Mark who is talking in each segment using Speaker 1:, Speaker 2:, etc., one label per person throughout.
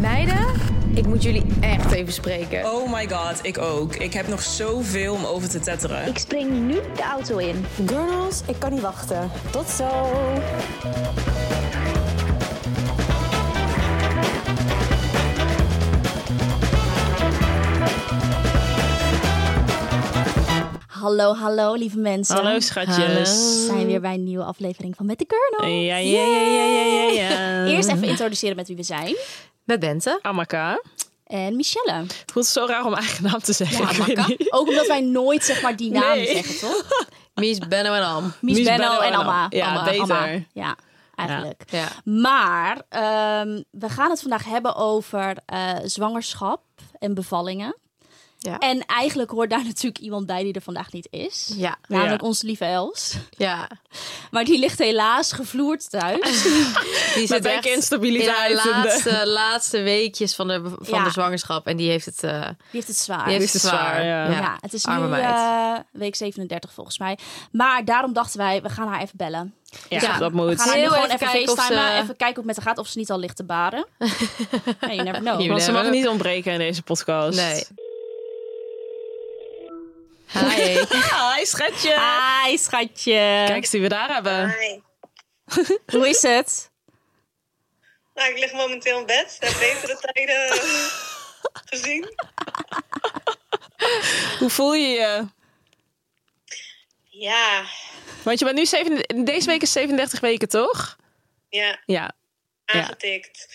Speaker 1: Meiden, ik moet jullie echt even spreken.
Speaker 2: Oh my god, ik ook. Ik heb nog zoveel om over te tetteren.
Speaker 3: Ik spring nu de auto in.
Speaker 4: Girls, ik kan niet wachten. Tot zo.
Speaker 3: Hallo, hallo, lieve mensen.
Speaker 2: Hallo schatjes.
Speaker 3: We zijn weer bij een nieuwe aflevering van Met de Girls.
Speaker 2: Ja, ja, ja, ja, ja, ja, ja.
Speaker 3: Eerst even introduceren met wie we zijn.
Speaker 1: Met Bente.
Speaker 2: Amaka.
Speaker 3: En Michelle.
Speaker 2: Het voelt zo raar om eigen naam te zeggen. Ik weet
Speaker 3: Amaka.
Speaker 2: niet.
Speaker 3: Ook omdat wij nooit zeg maar die naam
Speaker 2: Nee.
Speaker 3: zeggen, toch?
Speaker 1: Mies, Benno en Am.
Speaker 3: Mies,
Speaker 2: Mies,
Speaker 3: Benno
Speaker 2: Benno
Speaker 3: en
Speaker 2: en Amma.
Speaker 3: Amma.
Speaker 2: Ja,
Speaker 3: Amma,
Speaker 2: beter.
Speaker 3: Amma. Ja, eigenlijk.
Speaker 1: Ja.
Speaker 3: Maar ehm, we gaan het vandaag hebben over eh, zwangerschap en bevallingen.
Speaker 1: Ja.
Speaker 3: En eigenlijk hoort daar natuurlijk iemand bij die er vandaag niet is.
Speaker 1: Ja.
Speaker 3: Namelijk
Speaker 2: Ja.
Speaker 3: onze lieve Els.
Speaker 1: Ja.
Speaker 3: Maar die ligt helaas gevloerd thuis.
Speaker 1: Die zit
Speaker 2: ben
Speaker 1: echt
Speaker 2: ik instabiliteit
Speaker 1: in
Speaker 2: in de-
Speaker 1: haar laatste, laatste weekjes van de, van
Speaker 3: Ja.
Speaker 1: de zwangerschap. En die heeft het, eh,
Speaker 3: Die heeft het zwaar.
Speaker 1: die heeft
Speaker 2: het
Speaker 1: het zwaar.
Speaker 2: zwaar, ja.
Speaker 3: ja. het is
Speaker 1: Arme
Speaker 3: nu
Speaker 1: meid.
Speaker 3: eh, week 37 volgens mij. Maar daarom dachten wij, we gaan haar even bellen.
Speaker 2: Ja,
Speaker 1: Ja.
Speaker 2: dat
Speaker 3: We
Speaker 2: moet.
Speaker 3: gaan haar nu
Speaker 1: Heel
Speaker 3: gewoon
Speaker 1: even
Speaker 3: even
Speaker 1: kijken of
Speaker 3: facetimen.
Speaker 1: ze-
Speaker 3: Even kijken hoe het met haar gaat. Of ze niet al ligt te baren. hey, you never
Speaker 1: You
Speaker 2: Want
Speaker 3: know.
Speaker 2: ze
Speaker 1: never
Speaker 2: mag
Speaker 1: know.
Speaker 2: niet ontbreken in deze podcast.
Speaker 1: Nee. Hi.
Speaker 2: Ah, Hi schatje.
Speaker 3: Hi, schatje.
Speaker 2: Kijk eens die we daar hebben.
Speaker 5: Nee.
Speaker 3: Hoe is het?
Speaker 5: Nou, ik lig momenteel in bed. Ik heb betere tijden eh, gezien.
Speaker 2: Hoe voel je je?
Speaker 5: Ja,
Speaker 2: Want je bent nu zeven, deze week is 37 weken, toch?
Speaker 5: ja,
Speaker 2: Ja.
Speaker 5: aangetikt.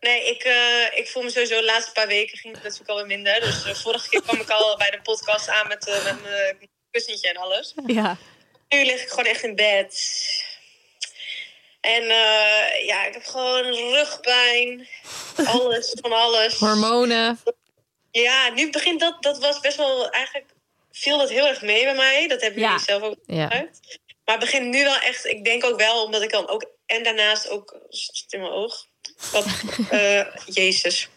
Speaker 5: Nee, ik, eh, ik voel me sowieso de laatste paar weken ging het natuurlijk alweer minder. Dus eh, vorige keer kwam ik al bij de podcast aan met, eh, met mijn kussentje en alles.
Speaker 3: Ja.
Speaker 5: Nu lig ik gewoon echt in bed. En eh, ja, ik heb gewoon rugpijn. Alles van alles.
Speaker 1: Hormonen.
Speaker 5: Ja, nu begint dat, dat was best wel, eigenlijk viel dat heel erg mee bij mij. Dat hebben
Speaker 3: Ja.
Speaker 5: jullie zelf ook
Speaker 1: Ja.
Speaker 5: uit. Maar het begint nu wel echt, ik denk ook wel, omdat ik dan ook, en daarnaast ook, zit in mijn oog, wat, eh, jezus.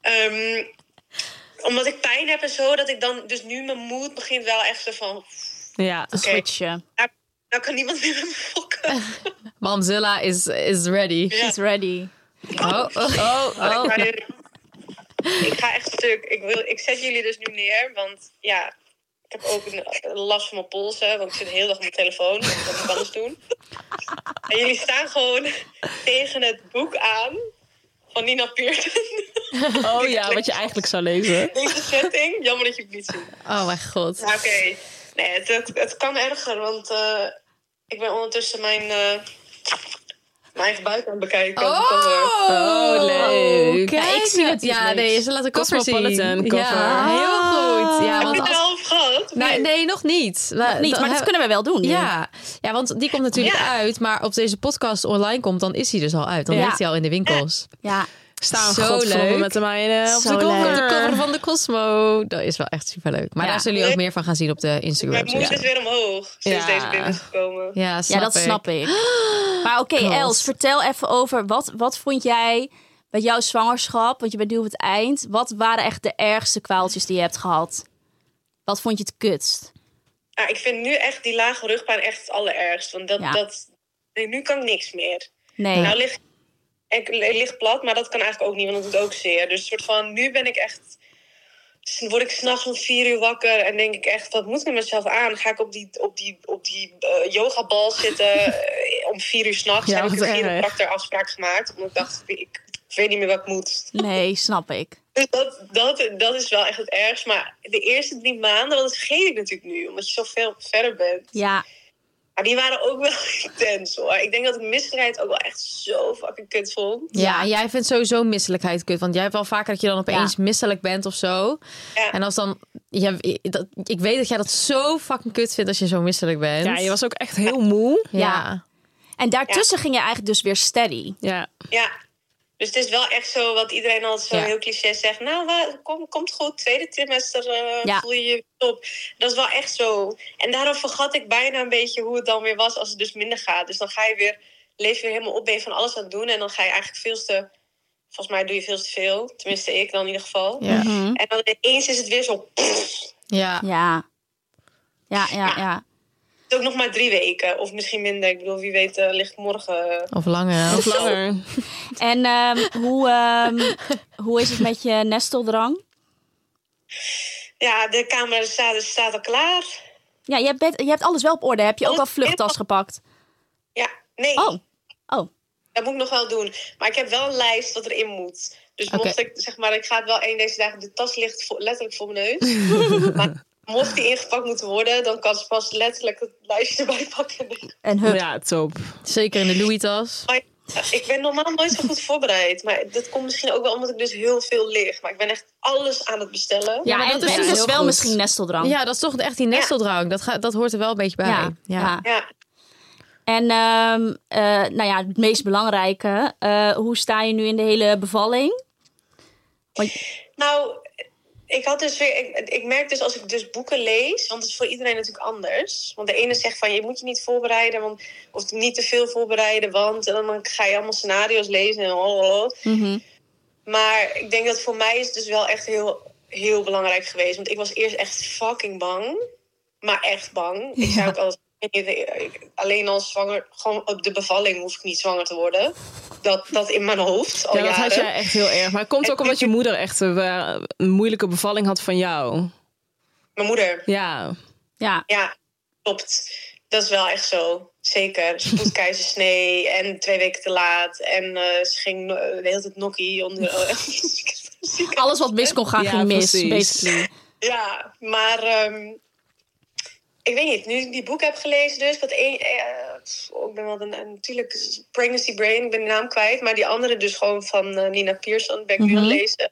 Speaker 5: Ehm, omdat ik pijn heb en zo, dat ik dan, dus nu mijn moed begint wel echt zo van,
Speaker 2: Ja.
Speaker 3: Switchen.
Speaker 5: nou, nou kan niemand meer met me fokken.
Speaker 1: Mamzilla is, is ready.
Speaker 5: Ja.
Speaker 3: She's ready.
Speaker 1: Oh, oh, oh.
Speaker 5: Maar ik- Ik ga echt stuk. Ik, wil, ik zet jullie dus nu neer, want ja, ik heb ook een, een last van mijn polsen, want ik zit de hele dag op mijn telefoon. Dat moet ik anders doen. En jullie staan gewoon tegen het boek aan van Nina Pearson.
Speaker 2: Oh ja, wat je eigenlijk zou lezen.
Speaker 5: Deze setting. Jammer dat je het niet ziet.
Speaker 1: Oh mijn god.
Speaker 5: Maar oké. Nee, het, het, het kan erger, want eh, ik ben ondertussen mijn, eh, mijn eigen buik aan het bekijken.
Speaker 1: Oh,
Speaker 2: leuk.
Speaker 1: Ja, ik zie het. Ja, nee, ze laten cover
Speaker 2: Cosmopolitan
Speaker 1: zien.
Speaker 2: cover.
Speaker 1: Ja, heel goed. Ja,
Speaker 5: Heb
Speaker 1: want
Speaker 5: je het
Speaker 1: als-
Speaker 5: al over gehad?
Speaker 1: nee, nee, nog niet. We-
Speaker 3: Niet,
Speaker 1: Eh, dan
Speaker 3: maar dat
Speaker 1: hebben-
Speaker 3: kunnen we wel doen. nu.
Speaker 1: Ja. ja, want die komt natuurlijk
Speaker 5: Ja.
Speaker 1: uit. Maar op deze podcast online komt, dan is hij dus al uit. Dan
Speaker 3: Ja.
Speaker 1: ligt hij al in de winkels.
Speaker 3: ja.
Speaker 2: Staan
Speaker 1: Zo
Speaker 2: godverdomme
Speaker 1: leuk.
Speaker 2: met de meiden op
Speaker 3: Zo
Speaker 2: de
Speaker 3: leuk.
Speaker 6: Eh,
Speaker 2: cover.
Speaker 1: Op de cover van de Cosmo. Dat is wel echt superleuk. Maar
Speaker 3: Ja.
Speaker 1: daar zullen jullie ook meer van gaan zien op de Instagram.
Speaker 5: Mijn moed is weer omhoog sinds
Speaker 2: Ja.
Speaker 5: deze binnen is gekomen.
Speaker 1: Ja, snap
Speaker 3: ja, dat
Speaker 1: ik.
Speaker 3: snap ik. Maar oké,
Speaker 1: God.
Speaker 3: Els, vertel even over wat, wat vond jij bij jouw zwangerschap? Want je bent nu op het eind. Wat waren echt de ergste kwaaltjes die je hebt gehad? Wat vond je het kutst?
Speaker 5: Ja, ik vind nu echt die lage rugpijn echt het allerergst. Want dat,
Speaker 3: Ja.
Speaker 5: dat, nee, nu kan ik niks meer.
Speaker 3: Nee.
Speaker 5: Nou lig ik lig plat, maar dat kan eigenlijk ook niet, want dat doet ook zeer. Dus soort van, nu ben ik echt... s- Word ik s'nachts om vier uur wakker en denk ik echt, wat moet ik met mezelf aan? Ga ik op die, op die, op die eh, yogabal zitten eh, om vier uur s'nachts?
Speaker 2: Ja,
Speaker 5: heb ik
Speaker 2: wat
Speaker 5: een
Speaker 2: erg.
Speaker 5: chiropractor afspraak gemaakt, omdat ik dacht, ik, ik weet niet meer wat ik moet.
Speaker 3: Nee, snap ik.
Speaker 5: Dus dat, dat, dat is wel echt het ergst. Maar de eerste drie maanden, want dat vergeet ik natuurlijk nu, omdat je zo veel verder bent.
Speaker 3: Ja,
Speaker 5: Maar die waren ook wel intens hoor. Ik denk dat ik misstrijd ook wel echt zo fucking kut vond.
Speaker 1: Ja, en jij vindt sowieso misselijkheid kut. Want jij hebt wel vaker dat je dan opeens misselijk bent of zo.
Speaker 5: Ja.
Speaker 1: En als dan... Ja, dat, ik
Speaker 5: dus-
Speaker 1: weet dat jij dat zo fucking kut vindt als je zo misselijk bent.
Speaker 2: Ja, je was ook echt heel moe.
Speaker 1: Ja.
Speaker 3: Ja. En En daartussen ging je eigenlijk dus weer steady.
Speaker 1: Ja.
Speaker 5: Ja. Dus het is wel echt zo wat iedereen altijd zo
Speaker 1: Ja.
Speaker 5: heel cliché zegt. Nou, wa- kom, komt goed. Tweede trimester eh,
Speaker 3: Ja.
Speaker 5: voel je je top. Dat is wel echt zo. En daarom vergat ik bijna een beetje hoe het dan weer was als het dus minder gaat. Dus dan ga je weer, leef je weer helemaal op, ben je van alles aan het doen. En dan ga je eigenlijk veel te, volgens mij doe je veel te veel. Tenminste, ik dan in ieder geval.
Speaker 1: Ja.
Speaker 5: En dan ineens is het weer zo, pff,
Speaker 1: Ja.
Speaker 3: Ja. Ja, ja, ja.
Speaker 5: het is ook nog maar drie weken. Of misschien minder. Ik bedoel, wie weet eh, ligt morgen...
Speaker 1: Of langer.
Speaker 5: Of
Speaker 1: langer.
Speaker 3: En ehm, hoe, ehm, hoe is het met je nesteldrang?
Speaker 5: Ja, de camera staat, staat al klaar.
Speaker 3: Ja, je hebt, je hebt alles wel op orde. Heb je ook al
Speaker 5: Alles
Speaker 3: vluchttas gepakt?
Speaker 5: Ja, nee.
Speaker 3: Oh, oh.
Speaker 5: Dat moet ik nog wel doen. Maar ik heb wel een lijst wat erin moet. Dus
Speaker 1: Oké.
Speaker 5: mocht ik, zeg maar, ik ga het wel één deze dagen... De tas ligt voor- letterlijk voor mijn neus. maar mocht die ingepakt moeten worden... dan kan ze pas letterlijk het lijstje erbij pakken.
Speaker 3: En hup.
Speaker 6: Ja, top.
Speaker 1: Zeker in de Louis-tas.
Speaker 5: Maar ik ben normaal nooit zo goed voorbereid. Maar dat komt misschien ook wel omdat ik dus heel veel lig. Maar ik ben echt alles aan het bestellen.
Speaker 1: Ja, maar
Speaker 3: en
Speaker 1: dat is
Speaker 3: en
Speaker 1: dus
Speaker 3: dus
Speaker 1: heel
Speaker 3: wel
Speaker 1: goed.
Speaker 3: misschien nesteldrang.
Speaker 1: Ja, dat is toch echt die nesteldrang. Dat, gaat, dat hoort er wel een beetje bij.
Speaker 3: ja. ja.
Speaker 5: Ja.
Speaker 3: En ehm, eh, nou ja, het meest belangrijke. eh, hoe sta je nu in de hele bevalling?
Speaker 5: Nou, ik had dus weer. Ik, ik merk dus als ik dus boeken lees, want het is voor iedereen natuurlijk anders. Want de ene zegt van je moet je niet voorbereiden, want, of niet te veel voorbereiden, want en dan ga je allemaal scenario's lezen en oh, oh.
Speaker 6: Mhm.
Speaker 5: Maar ik denk dat voor mij is het dus wel echt heel, heel belangrijk geweest. Want ik was eerst echt fucking bang. Maar echt bang. Ik zou ook al alleen al zwanger, gewoon op de bevalling hoef ik niet zwanger te worden. Dat, dat in mijn hoofd al
Speaker 6: Ja, dat
Speaker 5: jaren.
Speaker 6: had jij echt heel erg. Maar het komt ook omdat je moeder echt een, eh, een moeilijke bevalling had van jou.
Speaker 5: Mijn moeder.
Speaker 6: Ja.
Speaker 3: Ja,
Speaker 5: Ja, klopt. Dat is wel echt zo. Zeker. Spoedkeizersnee en twee weken te laat. En eh, ze ging eh, de hele tijd nokkie onder.
Speaker 3: alles wat mis kon gaan
Speaker 6: Ja,
Speaker 3: ging mis,
Speaker 6: precies.
Speaker 3: basically.
Speaker 5: ja, maar ehm, ik weet niet. Nu ik die boek heb gelezen, dus dat één. eh, pff, oh, ik ben wel een, een- natuurlijk Pregnancy Brain, ik ben de naam kwijt. Maar die andere, dus gewoon van eh, Nina Pearson, ben ik nu aan het lezen.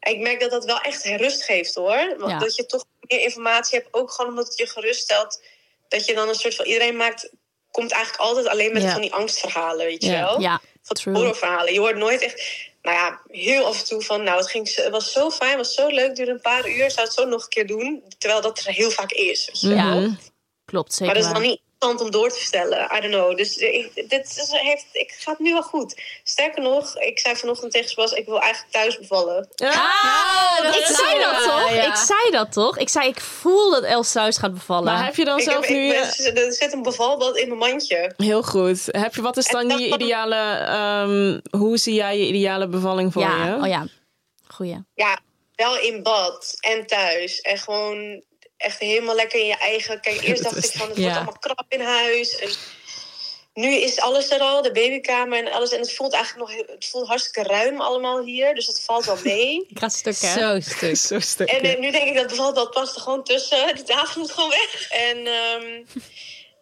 Speaker 5: En ik merk dat dat wel echt rust geeft hoor. Want
Speaker 3: Ja.
Speaker 5: dat je toch meer informatie hebt, ook gewoon omdat het je gerust stelt. Dat je dan een soort van. Iedereen maakt, komt eigenlijk altijd alleen met
Speaker 1: Ja.
Speaker 5: van die angstverhalen, weet je
Speaker 6: Ja.
Speaker 5: wel?
Speaker 3: Ja,
Speaker 5: van
Speaker 3: True.
Speaker 5: horrorverhalen. Je hoort nooit echt, nou ja, heel af en toe van, nou, het, ging, zo- het was zo fijn, het was zo leuk, duurde een paar uur, zou het zo nog een keer doen. Terwijl dat er heel vaak is. weet je wel.
Speaker 3: ja. klopt, zeker
Speaker 5: maar dat is dan
Speaker 3: waar.
Speaker 5: niet interessant om door te vertellen. I don't know. Dus ik, dit is, heeft, ik ga het nu wel goed. Sterker nog, ik zei vanochtend tegen Sebas, ik wil eigenlijk thuis bevallen.
Speaker 3: Ah, ik zei
Speaker 1: wel-
Speaker 3: dat toch?
Speaker 1: ja.
Speaker 3: Ik zei dat toch? Ik zei, ik voel dat Els thuis gaat bevallen.
Speaker 6: Maar Ah, heb je dan
Speaker 5: Ik
Speaker 6: zelf
Speaker 5: heb,
Speaker 6: nu...
Speaker 5: ik ben-
Speaker 6: eh,
Speaker 5: er zit een bevalbad in mijn mandje.
Speaker 6: Heel goed. Heb je, wat is dan
Speaker 5: En
Speaker 6: je
Speaker 5: dan-
Speaker 6: ideale... ehm, hoe zie jij je ideale bevalling voor
Speaker 3: ja,
Speaker 6: je?
Speaker 3: oh ja. Goeie.
Speaker 5: Ja, wel in bad en thuis. En gewoon echt helemaal lekker in je eigen. Kijk, eerst dacht ik van het wordt
Speaker 1: Ja.
Speaker 5: allemaal krap in huis. En nu is alles er al, de babykamer en alles. En het voelt eigenlijk nog heel- het voelt hartstikke ruim allemaal hier. Dus dat valt wel mee.
Speaker 3: Ik ga stukken.
Speaker 1: Zo stuk.
Speaker 6: Zo stuk.
Speaker 5: En eh, nu denk ik dat bijvoorbeeld dat past er gewoon tussen. De tafel moet gewoon weg. En ehm,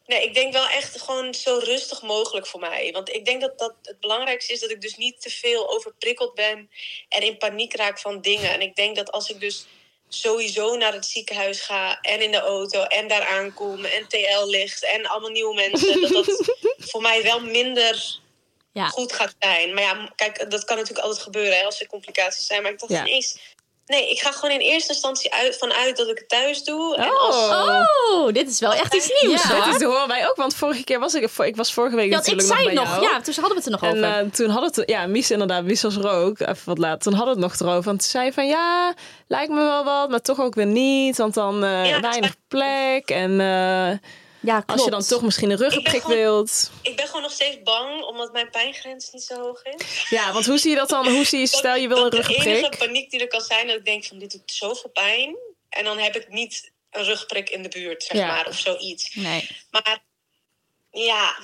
Speaker 5: nee, ik denk wel echt gewoon zo rustig mogelijk voor mij. Want ik denk dat, dat het belangrijkste is dat ik dus niet te veel overprikkeld ben en in paniek raak van dingen. En ik denk dat als ik dus sowieso naar het ziekenhuis ga en in de auto en daar aankom en TL ligt en allemaal nieuwe mensen, dat dat voor mij wel minder.
Speaker 3: Ja.
Speaker 5: Goed gaat zijn. Maar ja, kijk, dat kan natuurlijk altijd gebeuren hè, als er complicaties zijn. Maar ik dacht
Speaker 6: Ja.
Speaker 5: ineens, nee, ik ga gewoon in eerste instantie uit, vanuit dat ik het thuis doe. En als,
Speaker 6: Oh.
Speaker 3: Oh, dit is wel echt iets nieuws,
Speaker 6: Ja,
Speaker 3: hoor.
Speaker 6: dit is, horen wij ook, want vorige keer was ik, ik was vorige week
Speaker 3: Ja, ik
Speaker 6: natuurlijk nog
Speaker 3: zei
Speaker 6: bij
Speaker 3: het nog,
Speaker 6: jou.
Speaker 3: ja, toen hadden we het er nog
Speaker 6: En
Speaker 3: over.
Speaker 6: eh, toen had het, ja, Mies inderdaad, Mies was er ook, even wat laat. Toen had het nog erover, want ze zei van ja, lijkt me wel wat, maar toch ook weer niet, want dan eh,
Speaker 5: Ja,
Speaker 6: weinig
Speaker 5: exact.
Speaker 6: plek. En eh,
Speaker 3: ja, klopt.
Speaker 6: als je dan toch misschien een ruggenprik
Speaker 5: Ik ben gewoon-
Speaker 6: wilt.
Speaker 5: Ik ben gewoon nog steeds bang, omdat mijn pijngrens niet zo hoog is.
Speaker 6: Ja, want hoe zie je dat dan? Hoe zie je, stel je wil een
Speaker 5: Dat De enige
Speaker 6: ruggenprik?
Speaker 5: paniek die er kan zijn, dat ik denk van dit doet zoveel pijn. En dan heb ik niet een rugprik in de buurt, zeg
Speaker 1: Ja.
Speaker 5: maar, of zoiets.
Speaker 3: Nee.
Speaker 5: Maar ja,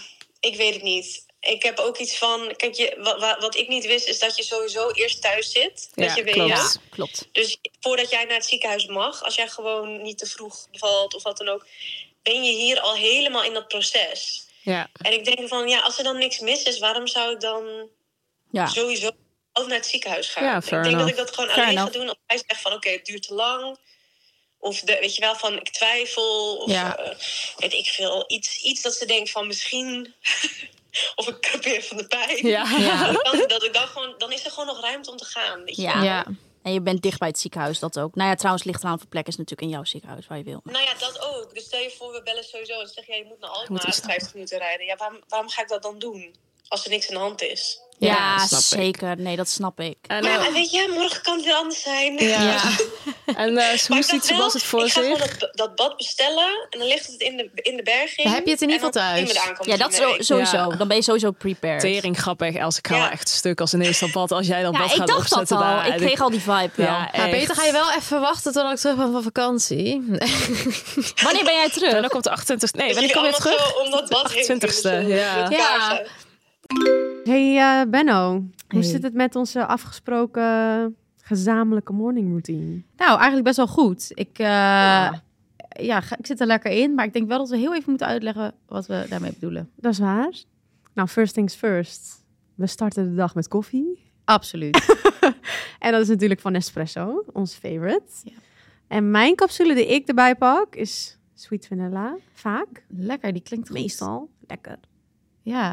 Speaker 5: ik weet het niet. Ik heb ook iets van, kijk, je, wat, wat, wat ik niet wist, is dat je sowieso eerst thuis zit.
Speaker 6: Ja,
Speaker 5: dat je weet,
Speaker 6: klopt.
Speaker 3: Ja, klopt.
Speaker 5: Dus voordat jij naar het ziekenhuis mag, als jij gewoon niet te vroeg bevalt of wat dan ook, ben je hier al helemaal in dat proces.
Speaker 6: Ja,
Speaker 5: En ik denk van, ja, als er dan niks mis is, waarom zou ik dan
Speaker 3: Ja.
Speaker 5: sowieso ook naar het ziekenhuis gaan?
Speaker 6: Ja,
Speaker 5: ik
Speaker 6: fair
Speaker 5: denk dat
Speaker 6: enough.
Speaker 5: ik dat gewoon
Speaker 3: Fair
Speaker 5: alleen
Speaker 3: enough.
Speaker 5: ga doen als hij zegt van, oké, het duurt te lang. Of de, weet je wel, van ik twijfel. Of
Speaker 1: Ja.
Speaker 5: eh, weet ik veel. Iets, iets dat ze denkt van misschien. of ik kapeer van de pijn.
Speaker 6: Ja.
Speaker 1: Ja.
Speaker 5: Dan, dat ik dan, gewoon, dan is er gewoon nog ruimte om te gaan. Weet je
Speaker 3: Ja.
Speaker 5: wel.
Speaker 1: ja.
Speaker 3: En je bent dicht bij het ziekenhuis, dat ook. Nou ja, trouwens, ligt eraan voor plek is natuurlijk in jouw ziekenhuis waar je wil.
Speaker 5: Nou ja, dat ook. Dus stel je voor, we bellen sowieso. En zeg je, je moet naar
Speaker 6: Moet
Speaker 5: Alkmaar
Speaker 6: eens naar
Speaker 5: 50 minuten rijden. Ja, waarom, waarom ga ik dat dan doen? Als er niks aan de hand is.
Speaker 3: Ja,
Speaker 6: snap ik.
Speaker 3: zeker. Nee, dat snap ik.
Speaker 6: En,
Speaker 5: Maar
Speaker 6: eh,
Speaker 5: ja, weet je, morgen kan het weer anders zijn.
Speaker 6: Ja.
Speaker 1: Ja.
Speaker 6: en eh,
Speaker 5: Maar
Speaker 6: hoe
Speaker 5: ik
Speaker 6: ziet
Speaker 5: dacht wel,
Speaker 6: Sebas het voor
Speaker 5: ik ga gewoon
Speaker 6: zich?
Speaker 5: dat, dat bad bestellen en dan ligt het in de, in de berging.
Speaker 1: Dan heb je het in ieder
Speaker 5: En dan
Speaker 1: geval thuis.
Speaker 5: zien we de aankomende
Speaker 3: Ja, dat is
Speaker 5: week.
Speaker 3: zo- sowieso.
Speaker 6: Ja.
Speaker 3: Dan ben je sowieso prepared.
Speaker 6: Tering grappig, Els. Ik ga
Speaker 5: Ja.
Speaker 6: wel echt stuk als ineens dat bad, als jij dat
Speaker 3: ja,
Speaker 6: bad
Speaker 3: ik
Speaker 6: gaat
Speaker 3: dacht dat
Speaker 6: opzetten
Speaker 3: al.
Speaker 6: daar.
Speaker 3: ik kreeg al die vibe wel.
Speaker 6: Ja,
Speaker 1: Maar
Speaker 6: echt.
Speaker 1: beter ga je wel even wachten totdat ik terug ben van vakantie.
Speaker 3: Wanneer ben jij terug?
Speaker 6: En dan komt de 28 Nee,
Speaker 5: Dat
Speaker 6: ben ik
Speaker 5: jullie
Speaker 6: kom weer
Speaker 5: allemaal
Speaker 6: terug.
Speaker 5: zo om dat bad heen
Speaker 6: 28e,
Speaker 5: willen, zo,
Speaker 6: ja.
Speaker 5: met elkaar zijn.
Speaker 7: Hey eh, Benno, hoe
Speaker 1: Hey.
Speaker 7: zit het met onze afgesproken gezamenlijke morning routine?
Speaker 8: Nou, eigenlijk best wel goed. Ik, eh, ja. ga- ik zit er lekker in, maar ik denk wel dat we heel even moeten uitleggen wat we daarmee bedoelen.
Speaker 7: Dat is waar. Nou, first things first. We starten de dag met koffie.
Speaker 8: Absoluut.
Speaker 7: En dat is natuurlijk van Nespresso, ons favorite.
Speaker 8: Ja.
Speaker 7: En mijn capsule die ik erbij pak is sweet vanilla. Vaak.
Speaker 8: lekker, die klinkt goed.
Speaker 7: Meestal. Lekker.
Speaker 8: Ja.